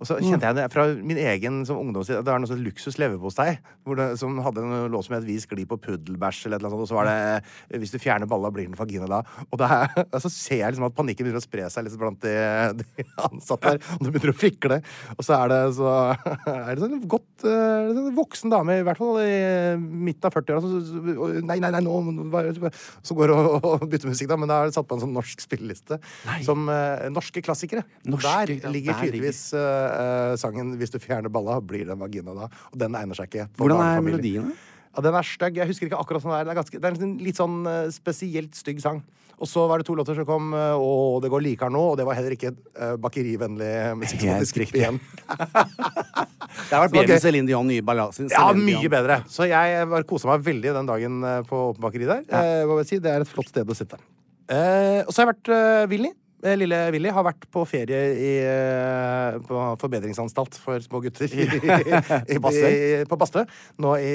S4: Og så kjente jeg det fra min egen som ungdomstid at Det var noe sånn luksus leverpostei hvor det- som hadde en låt som het 'Vi sklir på puddelbæsj' eller et eller annet sånt, og så var det eh, 'Hvis du fjerner balla, blir det en vagina da'. Og da er- *laughs* og så ser jeg liksom at panikken begynner å spre seg litt blant de, de ansatte her, og de begynner å fikle. Og så er det så *laughs* er det sånn godt eh, sånn voksen dame, i hvert fall i midten av 40-åra, som så- og- Nei, nei, nei, nå må- bare- Så går og, og bytter musikk, da, men da er det satt på en sånn norsk spilleliste som eh, norske klassikere.
S3: Norske,
S4: der
S3: ja,
S4: ligger
S3: der
S4: tydeligvis eh, eh, sangen 'Hvis du fjerner balla, blir det en vagina da'. Og den egner seg ikke. for
S3: Hvordan er
S4: barnefamilier.
S3: melodiene?
S4: Ja, Den er stygg. Jeg husker ikke akkurat sånn det er. Det er, ganske, det er en litt sånn eh, spesielt stygg sang. Og så var det to låter som kom, eh, og det går likere nå, og det var heller ikke eh, bakerivennlig musikk. som
S3: Helt
S4: faktisk gikk
S3: riktig.
S4: igjen.
S3: Det har
S4: Så,
S3: vært bedre enn
S4: ok.
S3: Céline Dion nye ballader.
S4: Ja, mye bedre. Så jeg bare kosa meg veldig den dagen eh, på Åpen bakeri der. Eh, hva vil jeg si, Det er et flott sted å sitte. Eh, og så har jeg vært eh, Willy. Eh, Lille Willy har vært på ferie i, eh, på forbedringsanstalt for små gutter i, i, i, på Bastø nå i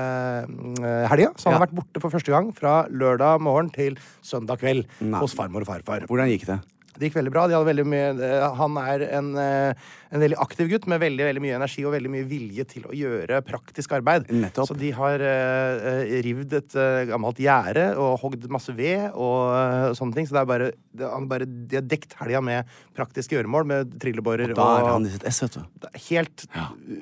S4: eh, helga. Så han har
S3: Ja.
S4: vært borte for første gang fra lørdag morgen til søndag kveld
S3: Nei.
S4: hos farmor og farfar.
S3: Hvordan gikk det?
S4: Det gikk veldig bra. De hadde veldig mye, eh, han er en, eh, en veldig aktiv gutt med veldig, veldig mye energi og veldig mye vilje til å gjøre praktisk arbeid.
S3: Nettopp.
S4: Så de har eh, eh, rivd et eh, gammelt gjerde og hogd masse ved og eh, sånne ting. Så det er bare, det, han bare, de har dekt helga med praktiske gjøremål med trillebårer
S3: Da er han i sitt ess, vet du.
S4: det er helt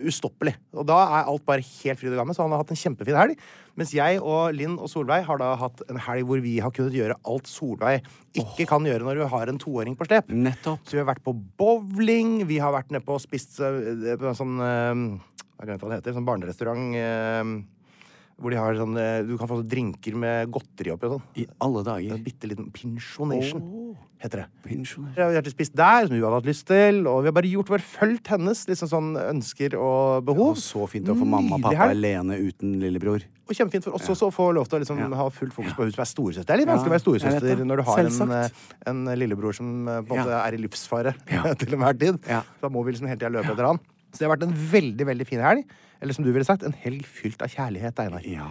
S4: ustoppelig. Og da er alt bare helt fryd og gammen, så han har hatt en kjempefin helg. Mens jeg og Linn og Solveig har da hatt en helg hvor vi har kunnet gjøre alt Solveig ikke kan gjøre når hun har en toåring på slep.
S3: Nettopp.
S4: Så vi har vært på bowling, vi har vært nede på og spist eh, på en sånn eh, Jeg har glemt hva det heter. Sånn barnerestaurant. eh, hvor de har sånn eh, Du kan få sånn drinker med godteri oppi og sånn.
S3: I alle dager.
S4: En bitte liten pinsjonation, heter det.
S3: Pensjonær.
S4: Vi har vært og spist der, som hun hadde hatt lyst til. Og vi har bare gjort vår fulgt hennes liksom sånn ønsker og behov.
S3: Og så fint å få mamma
S4: Nydelig
S3: og pappa
S4: helg.
S3: alene uten lillebror.
S4: Og kjempefint for oss også å få lov til å liksom ha fullt fokus på hun som er storesøster. Det er litt vanskelig å være
S3: jeg vet
S4: storesøster
S3: det.
S4: når du har en,
S3: Selvsagt.
S4: eh, en lillebror som eh, på en måte
S3: Ja.
S4: er i livsfare *laughs*
S3: Ja.
S4: til enhver tid.
S3: Ja.
S4: Da må vi liksom hele tida løpe etter han. Så det har vært en veldig veldig fin helg. Eller som du ville sagt, en helg fylt av kjærlighet, Einar.
S3: Ja.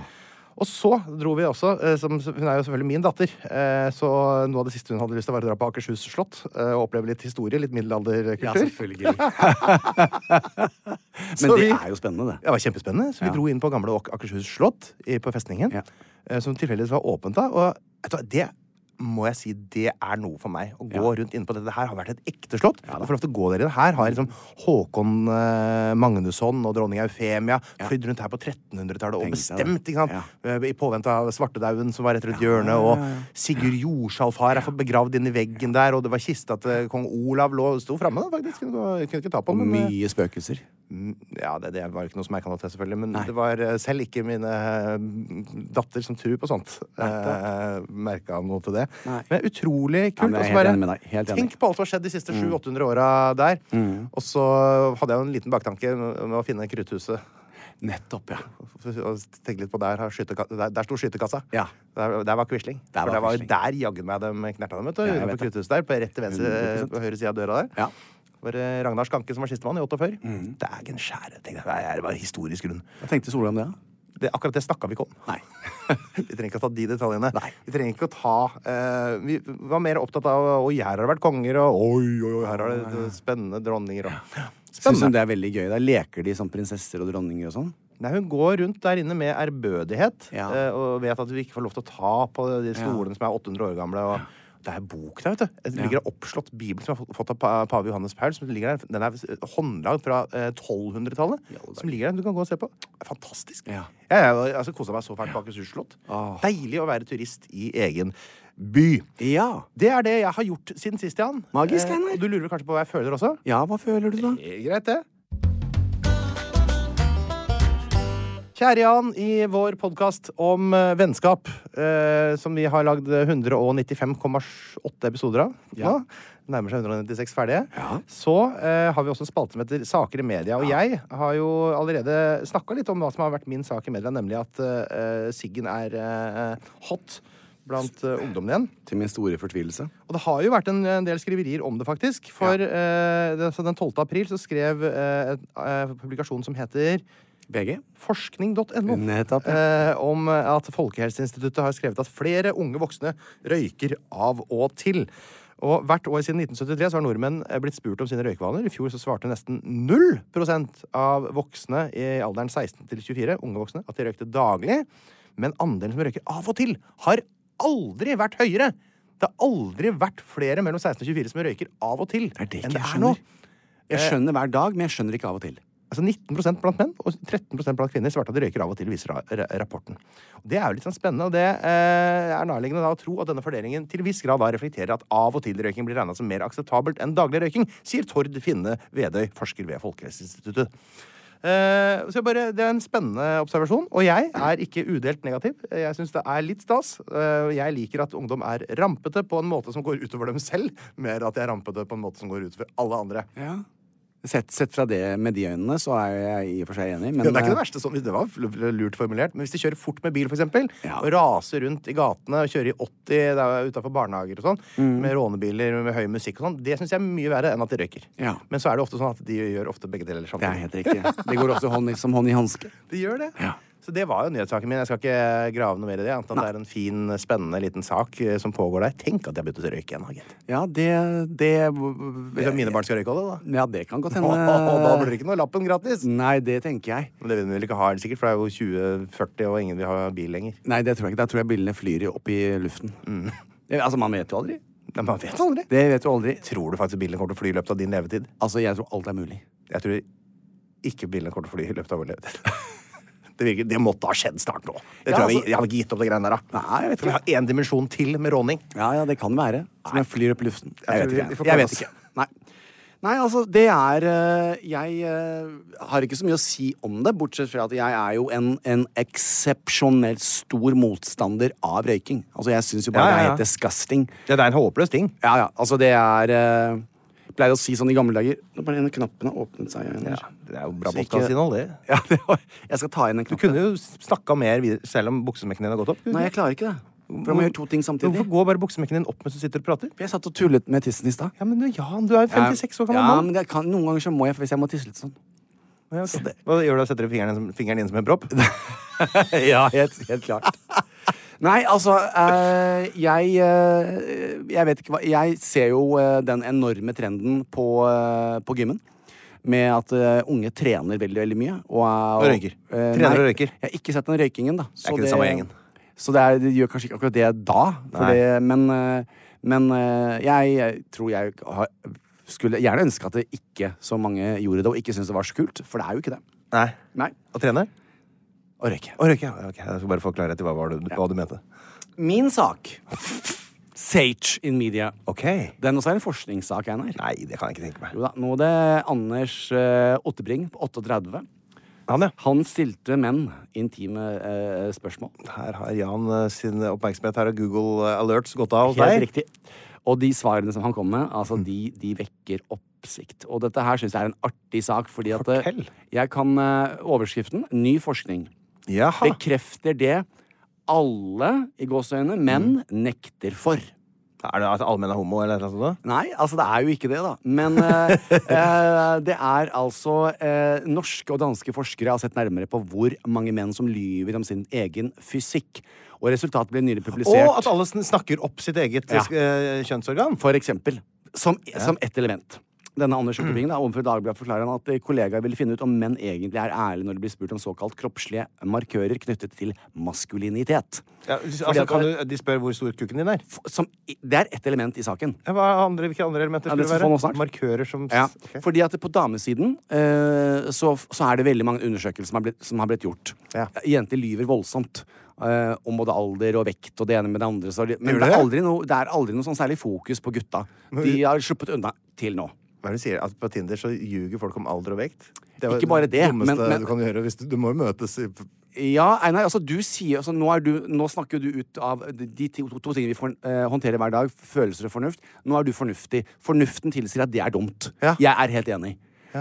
S4: Og så dro vi også, eh, som, hun er jo selvfølgelig min datter, eh, så noe av det siste hun hadde lyst til, var å dra på Akershus slott eh, og oppleve litt historie, litt
S3: Ja,
S4: middelalderkultur.
S3: *laughs* selvfølgelig. Men
S4: Så
S3: det
S4: vi-
S3: er jo spennende, det.
S4: Det var kjempespennende, så vi
S3: Ja.
S4: dro inn på gamle Åk- Akershus slott i, på festningen,
S3: Ja.
S4: eh, som tilfeldigvis var åpent da. Og vet du, hva, det må jeg si, det er noe for meg. Å gå rundt inne på dette her har vært et ekte slott. Du får lov til å gå der inne. Her har liksom Håkon eh, Magnusson og dronning Eufemia flydd rundt her på 1300-tallet og
S3: Tenk deg
S4: bestemt,
S3: det.
S4: ikke sant?
S3: Ja.
S4: Eh, I påvente av svartedauden som var rett rundt hjørnet, og Sigurd Jordsalfar er fått begravd inn i veggen der, og det var kista til kong Olav lå sto framme, faktisk. Kunne, gå- kunne ikke ta på
S3: Og
S4: den. men, eh,
S3: mye spøkelser.
S4: Mm, ja, det, det var jo ikke noe som jeg kan noe til, selvfølgelig. Men det var eh, selv ikke mine eh, datter som tror på sånt, eh, merka noe til det.
S3: Nei.
S4: Men utrolig
S3: Ja,
S4: kult.
S3: men
S4: og så
S3: jeg er helt
S4: bare
S3: enig med deg. Helt enig. Mm.
S4: Tenk på alt som har skjedd de siste 700-800 åra der. Og så hadde jeg jo en liten baktanke med å finne Krutthuset.
S3: Nettopp, ja.
S4: Og tenke litt på Der, har skyteka- der, der sto skytekassa.
S3: Ja.
S4: Der, der var Quisling.
S3: Der
S4: For
S3: var
S4: det var jo
S3: Quisling.
S4: der jaggen meg dem knerta dem. vet du,
S3: Ja, jeg
S4: utenfor
S3: vet det.
S4: Krutthuset der, på rett til venstre,
S3: 100%.
S4: på høyre side av døra der.
S3: Ja. Mhm.
S4: Det var eh, Ragnar Skanke som var sistemann i 48. Dægen skjære! tenkte jeg. Det er bare historisk grunn.
S3: Hva tenkte Solheim det? da?
S4: Det, akkurat det snakka vi ikke om.
S3: Nei.
S4: *laughs* vi trenger ikke å ta de detaljene.
S3: Nei.
S4: Vi trenger ikke å ta eh, Vi var mer opptatt av Oi, her har det vært konger, og oi, oi, oi, her har det spennende dronninger og
S3: Syns hun det er veldig gøy? Da leker de som prinsesser og dronninger og sånn.
S4: Nei, hun går rundt der inne med ærbødighet
S3: Ja.
S4: eh, og vet at du ikke får lov til å ta på de stolene som er 800 år gamle. Og det er bok der, vet du. Det ligger en oppslått bibel som er fått- fått av pa- pave Johannes Paul. Som ligger der. Den er håndlagd fra eh, 1200-tallet. Som ligger der. Du kan gå og se på. Fantastisk.
S3: Ja.
S4: Jeg, jeg altså, kosa meg så fælt på Akershus slott. Deilig å være turist i egen by.
S3: Ja.
S4: Det er det jeg har gjort siden sist, Jan.
S3: Magisk,
S4: Eh,
S3: Einar.
S4: og du lurer kanskje på hva jeg føler også?
S3: Ja, hva føler du da?
S4: Det er Eh, greit, det. Kjære Jan, i vår podkast om eh, vennskap, eh, som vi har lagd 195,8 episoder av nå, nærmer seg 196 ferdige, så eh, har vi også en spalte som heter Saker i media. Og jeg har jo allerede snakka litt om hva som har vært min sak i media, nemlig at eh, Siggen er eh, hot blant eh, ungdommen igjen.
S3: Til min store fortvilelse.
S4: Og det har jo vært en, en del skriverier om det, faktisk. For eh, det, så den 12. april så skrev eh, en eh, publikasjon som heter
S3: VG? E
S4: forskning.no
S3: Nettopp,
S4: eh, om at Folkehelseinstituttet har skrevet at flere unge voksne røyker av og til. Og Hvert år siden 1973 så har nordmenn eh, blitt spurt om sine røykevaner. I fjor så svarte nesten 0 av voksne i alderen 16 til 24 unge voksne, at de røykte daglig. Men andelen som røyker av og til, har aldri vært høyere! Det har aldri vært flere mellom 16 og 24 som røyker av og til
S3: Det er det
S4: enn
S3: ikke
S4: det
S3: jeg
S4: er Eh. nå.
S3: skjønner. Jeg skjønner hver dag, men jeg skjønner ikke av og til.
S4: Altså 19 blant menn og 13 blant kvinner svarte at de røyker av og til, viser ra- ra- rapporten. Og Det er jo litt sånn spennende, og det eh, er nærliggende da å tro at denne fordelingen til viss grad da reflekterer at av og til-røyking blir regna som mer akseptabelt enn daglig røyking, sier Tord Finne Vedøy, forsker ved Folkehelseinstituttet. Eh, så jeg bare, Det er en spennende observasjon, og jeg er ikke udelt negativ. Jeg syns det er litt stas. Eh, jeg liker at ungdom er rampete på en måte som går utover dem selv, mer at de er rampete på en måte som går utover alle andre.
S3: Ja. Sett, sett fra det med de øynene, så er jeg i og for seg enig, men
S4: Ja, det er ikke
S3: eh,
S4: det verste sånn, det var fl- lurt formulert, men hvis de kjører fort med bil, for eksempel,
S3: Ja.
S4: og raser rundt i gatene og kjører i 80 der utenfor barnehager og sånn,
S3: Mm.
S4: med rånebiler med høy musikk og sånn, det syns jeg er mye verre enn at de røyker.
S3: Ja.
S4: Men så er det ofte sånn at de gjør ofte begge deler
S3: det er
S4: samtidig.
S3: helt riktig. Det går også hånd, i- som hånd i hanske.
S4: De gjør det.
S3: Ja.
S4: Så det var jo nyhetssaken min. Jeg skal ikke grave noe mer i det. Jeg antar at det er en fin, spennende liten sak eh, som pågår der. Tenk at jeg begynte å røyke igjen, da, gitt.
S3: Ja, det, det eh,
S4: Hvis mine barn skal røyke av det, da.
S3: Ja, det kan
S4: *laughs*
S3: godt
S4: Å, å, å, da blir
S3: hende.
S4: det ikke noe lappen gratis.
S3: Nei, det tenker jeg.
S4: Men det vil de vel ikke ha, sikkert, for det er jo 2040, og ingen vil ha bil lenger.
S3: Nei, det tror jeg ikke. Da tror jeg bilene flyr i- opp i luften. Det, altså, man vet jo aldri.
S4: Men man vet Mm. aldri.
S3: Det vet du aldri.
S4: Tror du faktisk bilene kommer til å fly i løpet av din levetid?
S3: Altså, jeg tror alt er mulig.
S4: Jeg tror ikke bilene kommer til å fly i løpet av vår levetid. *laughs* Det, virker, det måtte ha skjedd snart nå. Det
S3: Ja,
S4: tror jeg,
S3: altså-
S4: vi- jeg hadde ikke gitt opp det greiene der, da.
S3: Nei, jeg vet
S4: Skal vi ha én dimensjon til med råning?
S3: Ja, ja, det kan være. Som jeg flyr opp i luften. Jeg
S4: tror
S3: vet
S4: vi-
S3: ikke.
S4: vi får
S3: Jeg,
S4: prøve
S3: vet
S4: oss.
S3: ikke. Nei. Nei, altså, det er eh, Jeg eh, har ikke så mye å si om det, bortsett fra at jeg er jo en, en eksepsjonelt stor motstander av røyking. Altså, jeg syns jo
S4: Ja, ja,
S3: bare
S4: ja.
S3: det er helt disgusting.
S4: Ja, det er en håpløs ting.
S3: Ja, ja, altså, det er eh, jeg Pleier å si sånn i gamle dager Nå bare en av knappene åpnet seg. Einar.
S4: Det er jo bra
S3: Så ikke-
S4: podkastinnhold, det.
S3: Ja, det var, jeg skal ta igjen en
S4: Du
S3: knapp.
S4: kunne jo snakka mer videre, selv om buksemekken din har gått opp.
S3: Nei, jeg klarer ikke det. For jeg må gjøre to ting samtidig.
S4: Hvorfor går bare buksemekken din opp mens du sitter og prater?
S3: Jeg satt og tullet med tissen i stad.
S4: Ja, men du, Jan, du er jo 56 år gammel
S3: Ja,
S4: mann.
S3: men det kan, noen ganger så må jeg, hvis jeg må tisse litt sånn.
S4: Så det- Hva gjør du? Setter du fingeren, som- fingeren inn som en *laughs* propp?
S3: ja, helt, helt klart. Nei, altså eh, jeg, eh, jeg vet ikke hva Jeg ser jo eh, den enorme trenden på, eh, på gymmen. Med at eh, unge trener veldig veldig mye. Og, er-
S4: Og røyker.
S3: eh,
S4: Trener
S3: nei,
S4: og røyker.
S3: Jeg har ikke sett den røykingen, da.
S4: ikke det samme gjengen.
S3: Så det, er, det gjør kanskje ikke akkurat det da. For
S4: Nei.
S3: det, men eh, men eh, jeg, jeg tror jeg har, skulle gjerne ønske at det ikke så mange gjorde det, og ikke syntes det var så kult. For det er jo ikke det.
S4: Nei.
S3: Nei.
S4: Å trene?
S3: Å røyke.
S4: Å røyke, ja. Ok, Jeg skal bare få klarhet i hva, var det, hva du mente.
S3: Min sak Sage in media.
S4: Ok.
S3: Den også er en forskningssak, Einar.
S4: Nei, det kan jeg ikke tenke meg.
S3: Jo da, Nå er det Anders eh, Ottebring på 38.
S4: Han, ja.
S3: Han stilte menn intime eh, spørsmål.
S4: Her har Jan eh, sin oppmerksomhet. Her har Google eh, Alerts gått av hos
S3: Helt
S4: deg.
S3: riktig. Og de svarene som han kom med, altså de, de vekker oppsikt. Og dette her syns jeg er en artig sak, fordi at eh,
S4: Fortell.
S3: jeg kan eh, overskriften 'Ny forskning'.
S4: Jaha.
S3: Bekrefter det alle, i gåseøyne, menn
S4: Mm.
S3: nekter for.
S4: Er det at allmenn er homo, eller noe sånt? da?
S3: Nei, altså det er jo ikke det, da. Men eh, eh, det er altså eh, Norske og danske forskere har sett nærmere på hvor mange menn som lyver om sin egen fysikk. Og resultatet ble nylig publisert.
S4: Og at alle sn- snakker opp sitt eget
S3: Ja.
S4: eh, kjønnsorgan.
S3: For eksempel. Som, som ett element. Denne Anders
S4: Mm.
S3: Ottebring da, overfor Dagbladet forklarer han at eh, kollegaer ville finne ut om menn egentlig er ærlige når de blir spurt om såkalt kroppslige markører knyttet til maskulinitet.
S4: Ja,
S3: Fordi
S4: altså,
S3: at-
S4: kan du, de spør hvor stor kukken din er.
S3: F- Som, i- det er ett element i saken.
S4: Ja, Hva er andre, hvilke andre elementer
S3: Ja,
S4: skulle
S3: det
S4: det
S3: skal
S4: være?
S3: få noe snart.
S4: Markører som
S3: Ja,
S4: Ok.
S3: Ehm, fordi at på damesiden eh, så, så er det veldig mange undersøkelser som har blitt, som har blitt gjort.
S4: Ja.
S3: Jenter lyver voldsomt eh, om både alder og vekt og det ene med det andre. Så, de- men
S4: Gjør
S3: det er,
S4: det?
S3: aldri noe, det er aldri noe sånn særlig fokus på gutta. De har sluppet unna til nå.
S4: Hva er det du sier? At på Tinder så ljuger folk om alder og vekt? Det er jo
S3: Ikke bare det,
S4: dummeste
S3: men- men-
S4: du kan gjøre. Hvis du, du må jo møtes i
S3: Ja, Einar, altså du sier altså, nå, er du, nå snakker jo du ut av de de to, to, to tingene vi for, eh, håndterer hver dag. Følelser og fornuft. Nå er du fornuftig. Fornuften tilsier at det er dumt.
S4: Ja.
S3: Jeg er helt enig.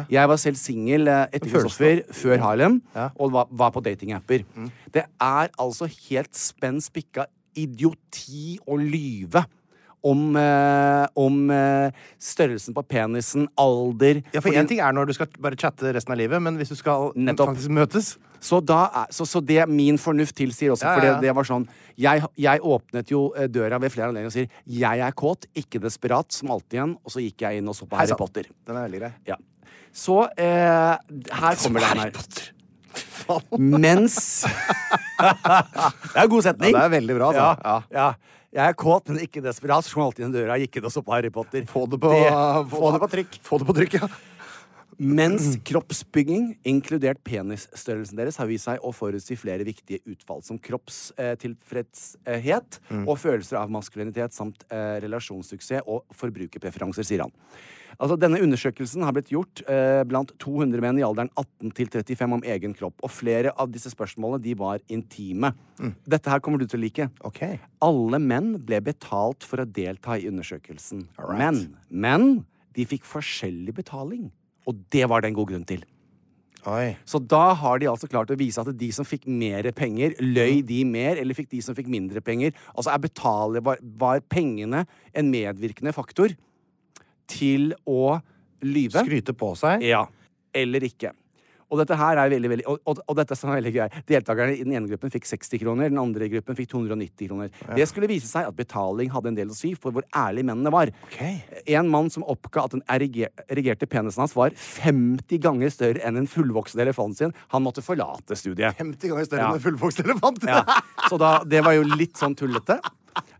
S3: Jeg var selv singel eh, etter Kristoffer, før Harlem, og var, var på datingapper.
S4: Mm.
S3: Det er altså helt spenn spikka idioti å lyve. Om, eh, om eh, størrelsen på penisen, alder
S4: Ja, for
S3: Fordi-
S4: én ting er når du skal bare chatte resten av livet, men hvis du skal
S3: Nettopp.
S4: faktisk møtes
S3: Så, da er, så, så det min fornuft tilsier også,
S4: Ja, ja,
S3: for det,
S4: ja.
S3: det var sånn jeg, jeg åpnet jo eh, døra ved flere anledninger og sier 'jeg er kåt, ikke desperat', som alltid igjen, og så gikk jeg inn og så på
S4: sann.
S3: Harry Potter.
S4: Den er veldig grei.
S3: Ja. Så eh, her kommer den her. Mens Det er en god setning.
S4: Ja, det er veldig bra,
S3: Ja,
S4: altså.
S3: ja. Jeg er kåt, men ikke desperat. Så kom alltid inn døra, gikk inn og så på Harry Potter.
S4: Få det på,
S3: få det på trykk.
S4: Få det på trykk, ja.
S3: Mens kroppsbygging, inkludert penisstørrelsen deres, har vist seg å forutsi flere viktige utfall, som kroppstilfredshet og følelser av maskulinitet samt eh, relasjonssuksess og forbrukerpreferanser, sier han. Altså, denne undersøkelsen har blitt gjort eh, blant 200 menn i alderen 18 til 35 om egen kropp, og flere av disse spørsmålene de var intime. Dette her kommer du til å like.
S4: Ok.
S3: Alle menn ble betalt for å delta i undersøkelsen. Men, men de fikk forskjellig betaling. Og det var det en god grunn til.
S4: Oi.
S3: Så da har de altså klart å vise at de som fikk mer penger, løy de mer, eller fikk de som fikk mindre penger? Altså er betale, var, var pengene en medvirkende faktor til å lyve?
S4: Skryte på seg.
S3: Ja. Eller ikke. Og dette her er veldig, veldig, og, og, og dette som er veldig gøy. Deltakerne i den ene gruppen fikk 60 kroner, den andre gruppen fikk 290 kroner. Det skulle vise seg at betaling hadde en del å si for hvor ærlige mennene var.
S4: Ok.
S3: En mann som oppga at den eriger- erigerte penisen hans var 50 ganger større enn en fullvoksen elefant sin, han måtte forlate studiet.
S4: 50 ganger større
S3: Ja.
S4: enn en fullvokst elefant. *laughs*
S3: Ja. Så da, det var jo litt sånn tullete.